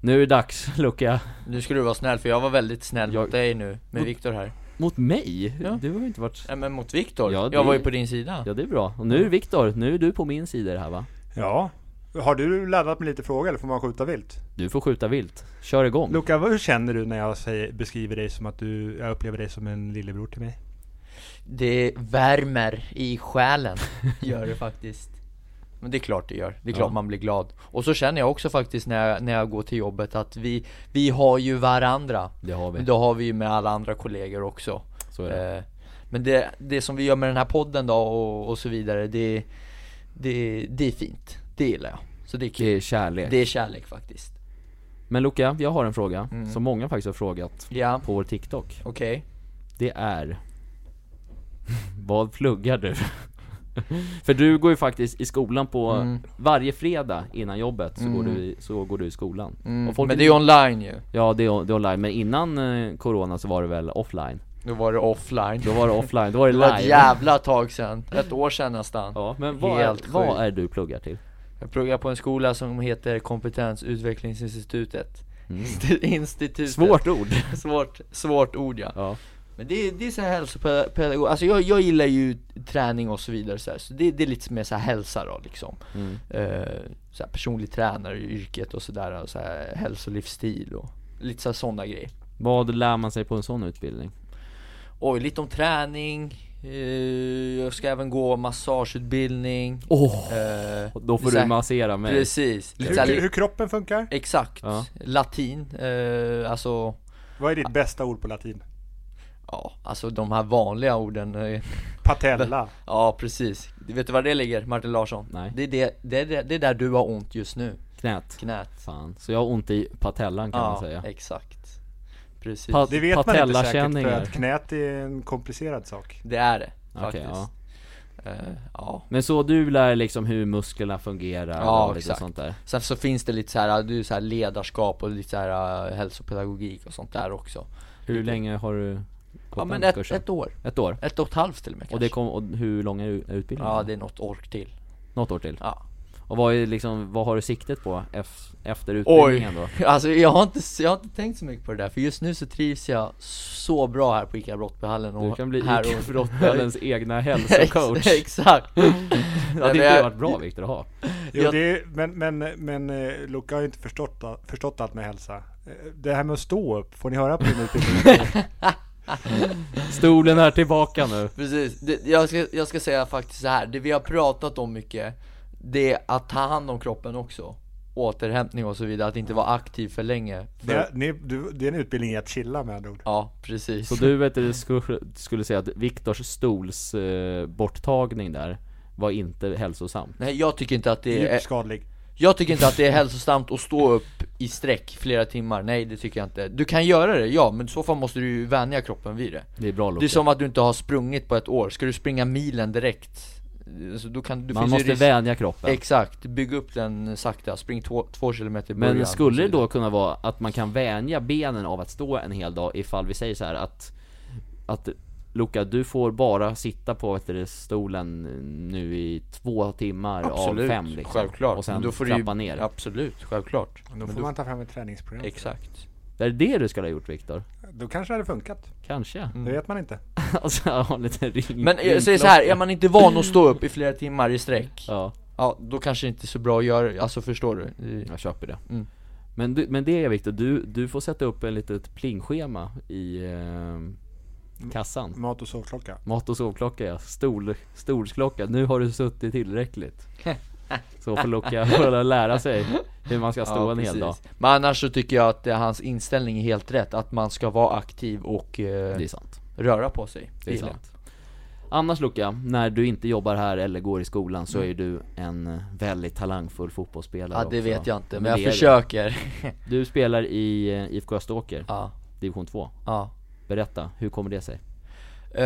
S2: Nu är det dags Luca.
S3: Nu skulle du vara snäll för jag var väldigt snäll
S2: Jag-
S3: mot dig nu med Viktor här
S2: Mot mig?
S3: Ja.
S2: Du har ju inte varit...
S3: Nej men mot Viktor,
S2: Ja, det-
S3: jag var ju på din sida
S2: Ja det är bra. Och nu Viktor, nu är du på min sida i det här va?
S1: Ja. Har du laddat med lite frågor eller får man skjuta vilt?
S2: Du får skjuta vilt. Kör igång.
S1: Luca, vad- hur känner du när jag säger, beskriver dig som att du, jag upplever dig som en lillebror till mig?
S3: Det värmer i själen, gör det faktiskt Men det är klart det gör, det är klart
S2: Ja.
S3: man blir glad Och så känner jag också faktiskt när jag, när jag går till jobbet att vi, vi har ju varandra
S2: Det har vi.
S3: Men det har vi ju med alla andra kollegor också
S2: Så är det.
S3: Eh, Men det, det som vi gör med den här podden då och, och så vidare, det, det, det är fint, det gillar jag Så det är kul,
S2: Det är kärlek.
S3: det är kärlek faktiskt
S2: Men Luca, jag har en fråga
S3: Mm.
S2: som många faktiskt har frågat
S3: Ja,
S2: på vår TikTok.
S3: okej
S2: Det är... Vad pluggar du? För du går ju faktiskt i skolan på varje fredag innan jobbet så, går, du, i- så går du i skolan. Och folk
S3: Mm. Men det är ju online ju,
S2: Ja det är, det är online, men innan eh, corona så var det väl offline?
S3: då var det offline
S2: Då var det offline, då var det
S3: Det var ett
S2: live.
S3: jävla tag sedan, ett år sedan nästan
S2: Ja, men vad,
S3: Helt
S2: är, vad
S3: sjukt.
S2: är du pluggar till?
S3: Jag pluggar på en skola som heter kompetensutvecklingsinstitutet Institutet
S2: Svårt ord!
S3: Svårt, svårt ord ja.
S2: Ja,
S3: Men det, är- det är så här hälsopedagog, alltså jag, jag gillar ju träning och så vidare så, här, så det, det är lite mer så här hälsa då liksom Eh, så här personlig tränare i yrket och sådär, och så här hälsolivsstil och lite så här sådana grejer
S2: Vad lär man sig på en sån utbildning?
S3: Oj, lite om träning eh, Jag ska även gå massageutbildning
S2: Åh!
S3: eh,
S2: Då får
S3: så
S2: du
S3: här-
S2: massera mig
S3: Precis, lite så här,
S1: Hur, hur kroppen funkar?
S3: exakt
S2: Ja.
S3: Latin, eh, alltså
S1: Vad är ditt bästa ord på latin?
S3: Ja, alltså de här vanliga orden eh,
S1: Patella.
S3: Ja precis, vet du var det ligger Martin Larsson?
S2: Nej.
S3: Det är, det, det, är det, det är där du har ont just nu,
S2: Knät
S3: knät
S2: Fan, så jag har ont i patellan kan man säga
S3: exakt Precis,
S2: Pa-
S1: Det vet man inte säkert för
S2: Patellakänningar.
S1: att knät är en komplicerad sak.
S3: det är det
S2: Okej,
S3: faktiskt
S2: ja.
S3: Eh, ja.
S2: Men så du lär liksom hur musklerna fungerar
S3: Ja,
S2: och lite
S3: exakt.
S2: sånt där?
S3: Sen så finns det lite så här, du så här ledarskap och lite så här eh, hälsopedagogik och sånt där också
S2: Hur länge har du gått
S3: Ja men
S2: den
S3: ett,
S2: kursen?
S3: ett år,
S2: ett år?
S3: ett och ett halvt till och med
S2: Och det
S3: kanske.
S2: kom, och hur lång är ut- är utbildningen?
S3: Ja det är något ork till,
S2: Något år till?
S3: ja
S2: Och vad är liksom, vad har du siktet på ef- efter
S3: Oj,
S2: utbildningen då?
S3: alltså jag har, inte, jag har inte tänkt så mycket på det där för just nu så trivs jag så bra här på ICA Brottbyhallen och
S2: Du kan bli
S3: här
S2: Ica
S3: och-
S2: Brottballens egna hälsocoach
S3: Exakt!
S2: Ja
S3: men
S2: det hade
S3: jag-
S2: varit bra Viktor att ha
S1: Jo,
S3: Jag-
S1: det är, men men, men eh, Luca har ju inte förstått, förstått allt med hälsa. Eh, Det här med att stå upp, får ni höra på din utbildning?
S2: Stolen är tillbaka nu
S3: Precis, det, jag, ska, jag ska säga faktiskt så här. det vi har pratat om mycket Det är att ta hand om kroppen också Återhämtning och så vidare, att inte vara aktiv för länge för,
S1: Det, ni, du, det är en utbildning i att chilla med andra ord.
S3: Ja, precis
S2: Så du vet, du skulle, skulle säga att Viktors stols eh, borttagning där var inte hälsosam
S3: Nej jag tycker inte att det är,
S1: Djupt skadlig.
S3: jag tycker inte att det är hälsosamt att stå upp i sträck flera timmar, nej det tycker jag inte Du kan göra det, ja, men i så fall måste du ju vänja kroppen vid det
S2: Det är bra Loke.
S3: Det är som att du inte har sprungit på ett år, ska du springa milen direkt? Så då kan, du
S2: Man måste
S3: risk-
S2: vänja kroppen
S3: Exakt, bygg upp den sakta, spring två, två kilometer i början
S2: Men skulle det då kunna vara att man kan vänja benen av att stå en hel dag ifall vi säger så här att Att Luka, du får bara sitta på vet du, stolen nu i två timmar av fem liksom.
S3: självklart
S2: Och
S3: Men
S2: sen
S3: då får du ju-
S2: trappa ner
S3: Absolut, självklart
S1: Då får man ta fram ett träningsprogram.
S3: Exakt
S2: Det är det du skulle ha gjort Viktor
S1: Då kanske det hade funkat.
S2: Kanske?
S1: Det vet man inte.
S2: alltså ha en liten ring
S3: Mm. Men jag säger så här, är man inte van att stå upp i flera timmar i sträck
S2: Ja,
S3: Ja, då kanske det inte är så bra att göra, alltså förstår du? Det-
S2: jag köper det
S3: Mm.
S2: men, du, men det är Viktor, du, du får sätta upp en litet plingschema i eh, kassan
S1: Mat och sovklocka.
S2: Mat och sovklocka ja, Stol, stolsklocka. Nu har du suttit tillräckligt. Så får Luca börja lära sig hur man ska stå en hel
S3: precis.
S2: dag.
S3: Men annars så tycker jag att eh, hans inställning är helt rätt, att man ska vara aktiv och eh,
S2: Det är sant.
S3: röra på sig
S2: Det är sant. Annars Luca, när du inte jobbar här eller går i skolan så är du en väldigt talangfull fotbollsspelare
S3: Ja det
S2: också.
S3: vet jag inte, men
S2: Mm. det
S3: jag
S2: är du.
S3: försöker
S2: Du spelar i eh, IFK Österåker,
S3: Ja,
S2: division 2.
S3: ja
S2: Berätta, hur kommer det sig?
S3: Eh,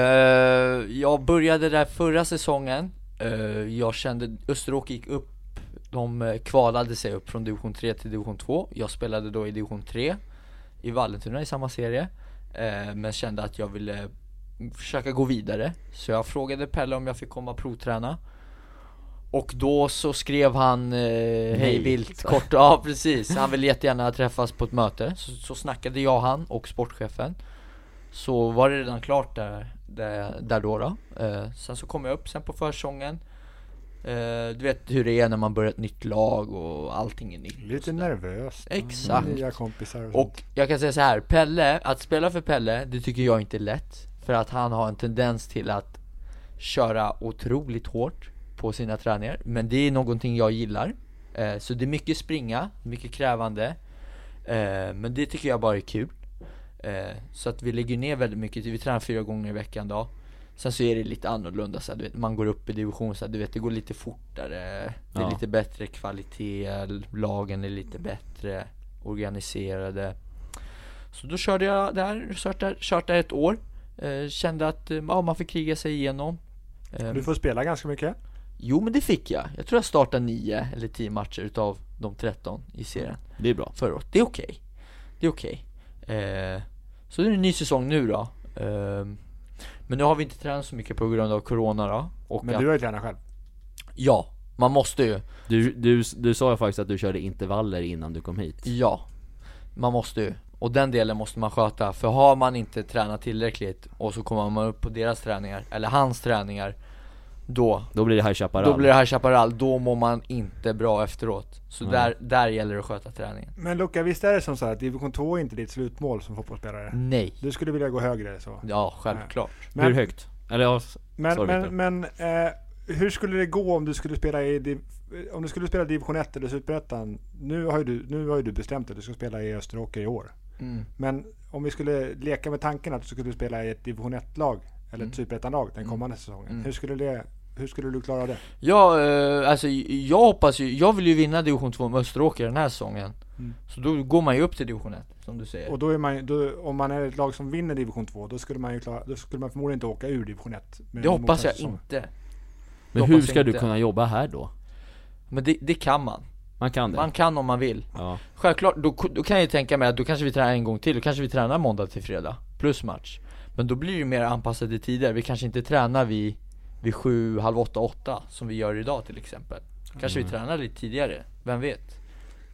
S3: jag började där förra säsongen. Eh, jag kände, Österåker gick upp, de eh, kvalade sig upp från division 3 till division 2. Jag spelade då i division 3 i Vallentuna i samma serie. Eh, men kände att jag ville försöka gå vidare. Så jag frågade Pelle om jag fick komma och provträna. Och då så skrev han eh, hej vilt kort, ja precis, han ville jättegärna träffas på ett möte Så, så snackade jag, han och sportchefen så var det redan klart där, där, där då. då. Eh, sen så kom jag upp sen på försången. Eh, du vet hur det är när man börjar ett nytt lag och allting är nytt.
S1: Lite nervöst. Mm,
S3: Exakt.
S1: Nya kompisar och, sånt.
S3: Och jag kan säga så här, Pelle, att spela för Pelle, det tycker jag inte är lätt. För att han har en tendens till att köra otroligt hårt på sina träningar. Men det är någonting jag gillar. Eh, så det är mycket springa, mycket krävande. Eh, men det tycker jag bara är kul. Eh, så att vi lägger ner väldigt mycket, vi tränar fyra gånger i veckan då. Sen så är det lite annorlunda så här, du vet, man går upp i division så här, du vet det går lite fortare. Det är
S2: Ja.
S3: lite bättre kvalitet, lagen är lite bättre organiserade. Så då körde jag där, kört där, kört där ett år. Eh, kände att eh, ja, man fick kriga sig igenom. Eh,
S1: Du får spela ganska mycket.
S3: Jo men det fick jag. Jag tror jag startade nio eller tio matcher utav de 13 i serien
S2: Det är bra.
S3: förra året. Det är okej. Det är okej. Eh, så det är en ny säsong nu då. Eh, men nu har vi inte tränat så mycket på grund av corona då. Och
S1: Men
S3: att,
S1: du har ju tränat själv.
S3: Ja, man måste ju.
S2: Du, du, du sa ju faktiskt att du körde intervaller innan du kom hit.
S3: Ja, man måste ju. Och den delen måste man sköta, för har man inte tränat tillräckligt och så kommer man upp på deras träningar, eller hans träningar då
S2: Då blir det High Chaparral.
S3: Då blir det High Chaparral, då mår man inte bra efteråt. Så
S2: Nej.
S3: där, där gäller det att sköta träningen.
S1: Men Luca, visst är det som så här att division 2 är inte ditt slutmål som fotbollsspelare?
S3: Nej.
S1: Du skulle vilja gå högre så?
S3: Mm. Ja, självklart.
S2: Hur
S1: Men,
S2: högt? Eller ja, s-
S1: men,
S2: Sorry,
S1: men,
S2: Viktor.
S1: men eh, hur skulle det gå om du skulle spela i div- om du skulle spela division 1 eller superettan? Nu har ju du, nu har ju du bestämt dig, du ska spela i Österåker i år.
S3: Mm.
S1: Men om vi skulle leka med tanken att du skulle spela i ett division 1-lag eller
S3: Mm.
S1: ett superettan-lag den kommande säsongen. Hur, skulle det, hur skulle du klara det?
S3: Ja, eh, alltså jag hoppas ju, jag vill ju vinna division 2 med Österåker den här säsongen. Så då går man ju upp till division 1, som du säger.
S1: Och då är man, ju- då, om man är ett lag som vinner division 2, då skulle man, ju klara, då skulle man förmodligen inte åka ur division 1. med
S3: det hoppas
S1: motståndarsäsong.
S3: jag inte.
S2: men
S3: hoppas
S2: hur
S3: jag
S2: ska du
S3: inte.
S2: kunna jobba här då?
S3: Men det, det kan man.
S2: Man kan det?
S3: Man kan om man vill.
S2: Ja.
S3: Självklart, då, då kan jag ju tänka mig att då kanske vi tränar en gång till, då kanske vi tränar måndag till fredag, plus match. Men då blir det ju mer anpassade tider, vi kanske inte tränar vid, vid sju, halv åtta, åtta som vi gör idag till exempel. Kanske vi tränar lite tidigare, vem vet?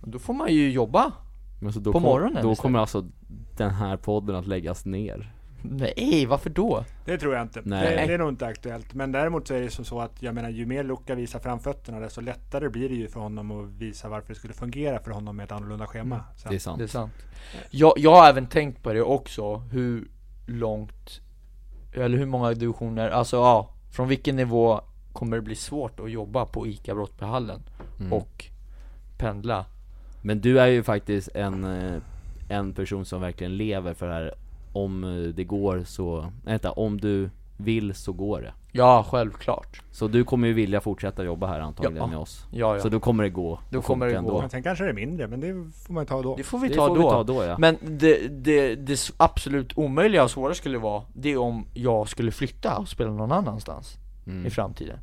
S3: Och då får man ju jobba.
S2: Men så då
S3: På
S2: kom,
S3: morgonen
S2: Då
S3: istället.
S2: kommer alltså den här podden att läggas ner.
S3: Nej, varför då?
S1: Det tror jag inte.
S2: Nej.
S1: Det, det är nog inte aktuellt. Men däremot så är det som så att jag menar ju mer Luca visar framfötterna desto lättare blir det ju för honom att visa varför det skulle fungera för honom med ett annorlunda schema. Så
S2: Mm. Det är
S1: att-
S2: sant.
S3: Det är sant. Jag, jag har även tänkt på det också, hur långt, eller hur många divisioner, alltså ja, från vilken nivå kommer det bli svårt att jobba på ICA Brottbyhallen
S2: Mm.
S3: och pendla?
S2: Men du är ju faktiskt en, eh, en person som verkligen lever för det här. Om eh, det går så, nej vänta, om du vill så går det.
S3: Ja, självklart.
S2: Så du kommer ju vilja fortsätta jobba här antagligen
S3: Ja.
S2: med oss.
S3: Ja, ja.
S2: Så då kommer det gå.
S3: Då
S2: och
S3: kommer det
S2: funka
S3: gå.
S1: Men sen kanske det är mindre, men det får man ju ta då.
S3: det får vi
S2: Det
S3: ta
S2: får vi
S3: då.
S2: ta då, ja.
S3: Men det, det, det s- absolut omöjliga och svåra skulle vara, det är om jag skulle flytta och spela någon annanstans
S2: Mm.
S3: i framtiden.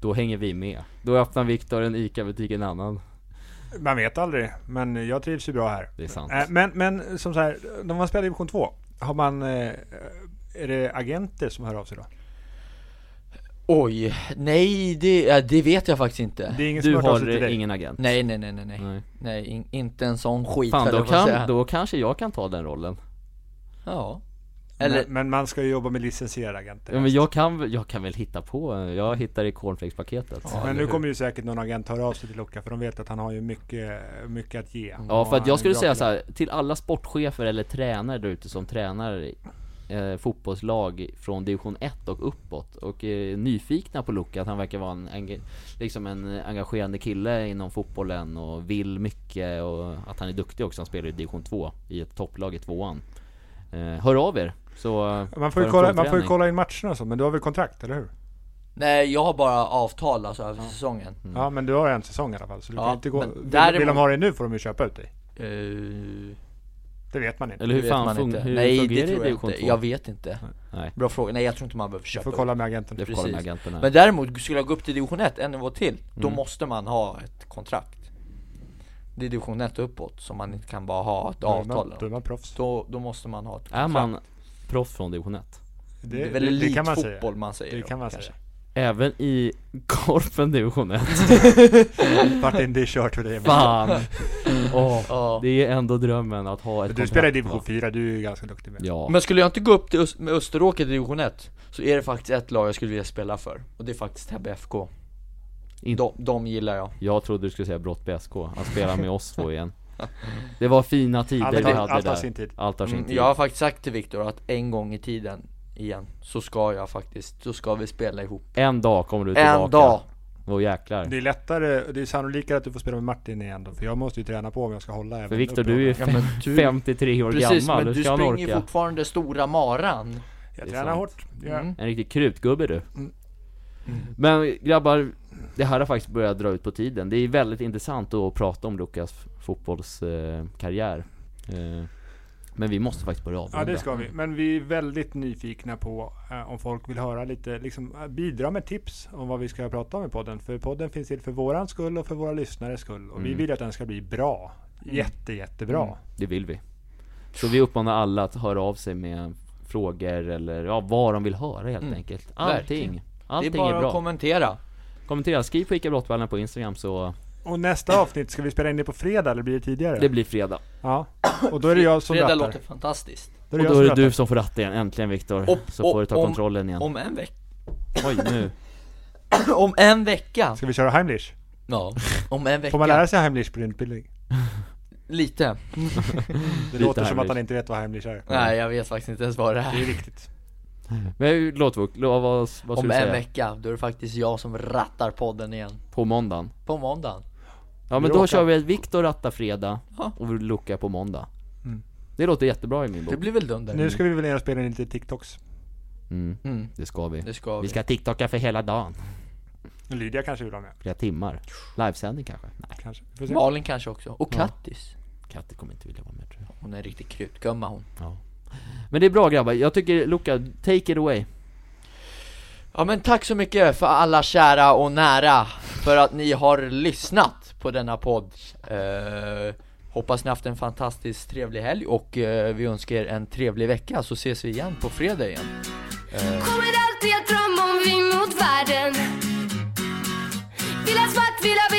S2: Då hänger vi med. Då öppnar Viktor en ICA-butik i en annan.
S1: Man vet aldrig, men jag trivs ju bra här.
S2: Det är sant.
S1: Eh, Men, men som så här, när man spelar division 2, har man, eh, är det agenter som hör av sig då?
S3: Oj, nej det, ja, det vet jag faktiskt inte.
S1: Det är ingen som
S2: Du
S1: hört av
S2: har
S1: sig till
S2: eh,
S1: dig?
S2: ingen agent.
S3: Nej, nej, nej, nej, nej.
S2: Nej.
S3: Nej, in, inte en sån skit
S2: Fan,
S3: höll
S2: då,
S3: jag på att säga.
S2: kan, då kanske jag kan ta den rollen.
S3: Ja. Eller,
S1: men, men man ska ju jobba med licensierade agenter.
S2: Ja, men jag kan, väl- jag kan väl hitta på, eh, jag hittar i cornflakespaketet.
S3: Ja,
S1: Men
S3: eller
S1: nu
S3: hur?
S1: kommer ju säkert någon agent höra av sig till Luca för de vet att han har ju mycket, mycket att ge.
S2: Ja
S1: Och
S2: för att
S1: han är
S2: jag skulle
S1: bra
S2: säga
S1: till
S2: så här till alla sportchefer eller tränare där ute som tränar eh, fotbollslag från division 1 och uppåt och är nyfikna på Luka, att han verkar vara en, enge- liksom en engagerande kille inom fotbollen och vill mycket och att han är duktig också, han spelar i division 2 i ett topplag i tvåan. Eh, hör av er! Så eh,
S1: Man får, ju
S2: för en
S1: kolla, man får ju
S2: provträning.
S1: kolla in matcherna och så, men du har väl kontrakt, eller hur?
S3: nej jag har bara avtal alltså över säsongen.
S2: Mm.
S1: Ja, men du har en säsong i alla fall. Så du
S3: Ja,
S1: kan inte gå...
S3: men
S1: Vill,
S3: däremot-
S1: vill de ha dig nu får de ju köpa ut dig.
S3: Eh,
S1: Det vet man inte.
S2: Eller hur
S3: det
S2: fan
S3: vet man
S2: fun-
S3: inte.
S2: hur
S3: nej,
S2: fungerar
S3: det
S2: det i
S3: tror jag
S2: division 2?
S3: inte. Jag vet inte.
S2: Nej,
S3: Bra fråga. Nej, jag tror inte man behöver
S1: Du
S3: köpa
S1: får
S3: upp.
S1: kolla med agenten.
S2: det får kolla med
S3: Precis.
S2: agenterna.
S3: Men däremot, skulle jag gå upp till division 1, en nivå till,
S2: Mm.
S3: då måste man ha ett kontrakt. Det är division 1 och uppåt, som man inte kan bara ha ett
S1: Då är man-
S3: avtal.
S1: Då är man proffs.
S3: Då, då måste man ha ett kontrakt.
S2: Är man proffs från division 1?
S3: det, är väl
S1: det, det kan man säga.
S3: elitfotboll man säger.
S1: Det kan
S3: då,
S1: man
S3: kanske.
S1: säga.
S2: Även i korpen division 1?
S1: Martin, det är kört för dig.
S2: Fan! Åh,
S3: Ja.
S2: Det är ändå drömmen att ha ett
S1: Du
S2: kontrakt,
S1: spelar i division
S2: va?
S1: 4, du är ju ganska duktig med.
S2: Ja,
S3: Men skulle jag inte gå upp till Öst- med Österåker till division 1, så är det faktiskt ett lag jag skulle vilja spela för. Och det är faktiskt Täby FK.
S2: In-
S3: De, de gillar jag.
S2: jag trodde du skulle säga Brottby SK, att spela med oss två igen Det var fina tider
S1: Allt
S2: vi
S1: tar-
S2: hade
S1: allt
S2: där
S1: tar sin tid.
S2: Allt tar sin
S3: Mm,
S2: tid
S3: jag har faktiskt sagt till Viktor att en gång i tiden, igen, så ska jag faktiskt, så ska vi spela ihop.
S2: En dag kommer du tillbaka
S3: En dag!
S2: Åh jäklar
S1: Det är lättare, det är sannolikare att du får spela med Martin igen då, för jag måste ju träna på om jag ska hålla även
S2: För Viktor du är ju
S1: uppehållet.
S3: Ja, men du-
S2: 53 år
S3: Precis,
S2: gammal,
S3: men
S2: hur
S3: du
S2: ska han
S3: springer ju
S2: orka?
S3: fortfarande stora maran.
S1: Jag
S2: Det är
S1: tränar
S2: sant.
S1: hårt. Ja.
S3: Mm.
S2: En riktig krutgubbe du
S1: Mm.
S2: Men grabbar, det här har faktiskt börjat dra ut på tiden Det är väldigt intressant att prata om Lukas fotbollskarriär Eh, Men vi måste faktiskt börja avrunda
S1: Ja det ska vi, men vi är väldigt nyfikna på eh, om folk vill höra lite, liksom, eh, bidra med tips om vad vi ska prata om i podden. För podden finns till för våran skull och för våra lyssnares skull. Och
S2: Mm.
S1: vi vill att den ska bli bra. Jätte, jättebra.
S2: Det vill vi. Så vi uppmanar alla att höra av sig med frågor eller ja, vad de vill höra helt enkelt. Allting.
S3: Mm. verkligen.
S2: Allting
S3: det
S2: är,
S3: är bara
S2: bra.
S3: att kommentera.
S2: Kommentera, skriv på ICA Brottballen på Instagram så
S1: Och nästa avsnitt, ska vi spela in det på fredag eller blir det tidigare?
S2: det blir fredag.
S1: Ja. Och då är det jag som
S3: Fredag
S1: rattar.
S3: låter fantastiskt.
S1: Då är det
S2: Och
S1: jag
S2: då
S1: som
S2: är det du
S1: rattar.
S2: som får ratta igen, äntligen Viktor.
S3: Och-
S2: Så får
S3: och-
S2: du ta
S3: om-
S2: kontrollen igen.
S3: Om en vecka.
S2: Oj nu.
S3: Om en vecka!
S1: Ska vi köra Heimlich?
S3: Ja, om en vecka.
S1: Får man lära Mm. sig Heimlich på din utbildning?
S3: Lite.
S1: Det
S2: Lite
S1: låter som att
S2: Heimlich.
S1: han inte vet vad Heimlich är.
S3: Nej, jag vet faktiskt inte ens vad det
S1: Det är
S3: är.
S1: viktigt.
S2: Men låt vad, vad, vad ska
S3: Om
S2: du
S3: en
S2: säga?
S3: vecka, då är det faktiskt jag som rattar podden igen.
S2: På måndagen?
S3: På måndagen.
S2: Ja men
S1: Vi
S2: då
S1: åker.
S2: kör vi ett Viktor rattar fredag
S3: Ja.
S2: och Luca på måndag
S1: Mm.
S2: Det låter jättebra i min bok
S3: Det blir väl dunder?
S1: Nu ska vi väl ner och spela in lite TikToks.
S2: mm,
S3: Mm,
S2: det ska vi
S3: det ska vi.
S2: Vi ska tiktoka för hela dagen,
S1: Lydia kanske vill ha med.
S2: flera timmar Livesändning kanske? Nej,
S1: Kanske. Vi får se.
S3: Malin kanske också. Och Kattis.
S2: Katte kommer inte vilja vara med tror jag
S3: Hon är en riktig krutgumma hon.
S2: Men det är bra grabbar, jag tycker Luca, take it away
S3: Ja men tack så mycket för alla kära och nära för att ni har lyssnat på denna podd. Eh, hoppas ni haft en fantastiskt trevlig helg och eh, vi önskar er en trevlig vecka så ses vi igen på fredag igen.
S4: Kommer alltid att drömma om vi mot världen Vill ha Ah, svart, vill ha vitt ah. ah,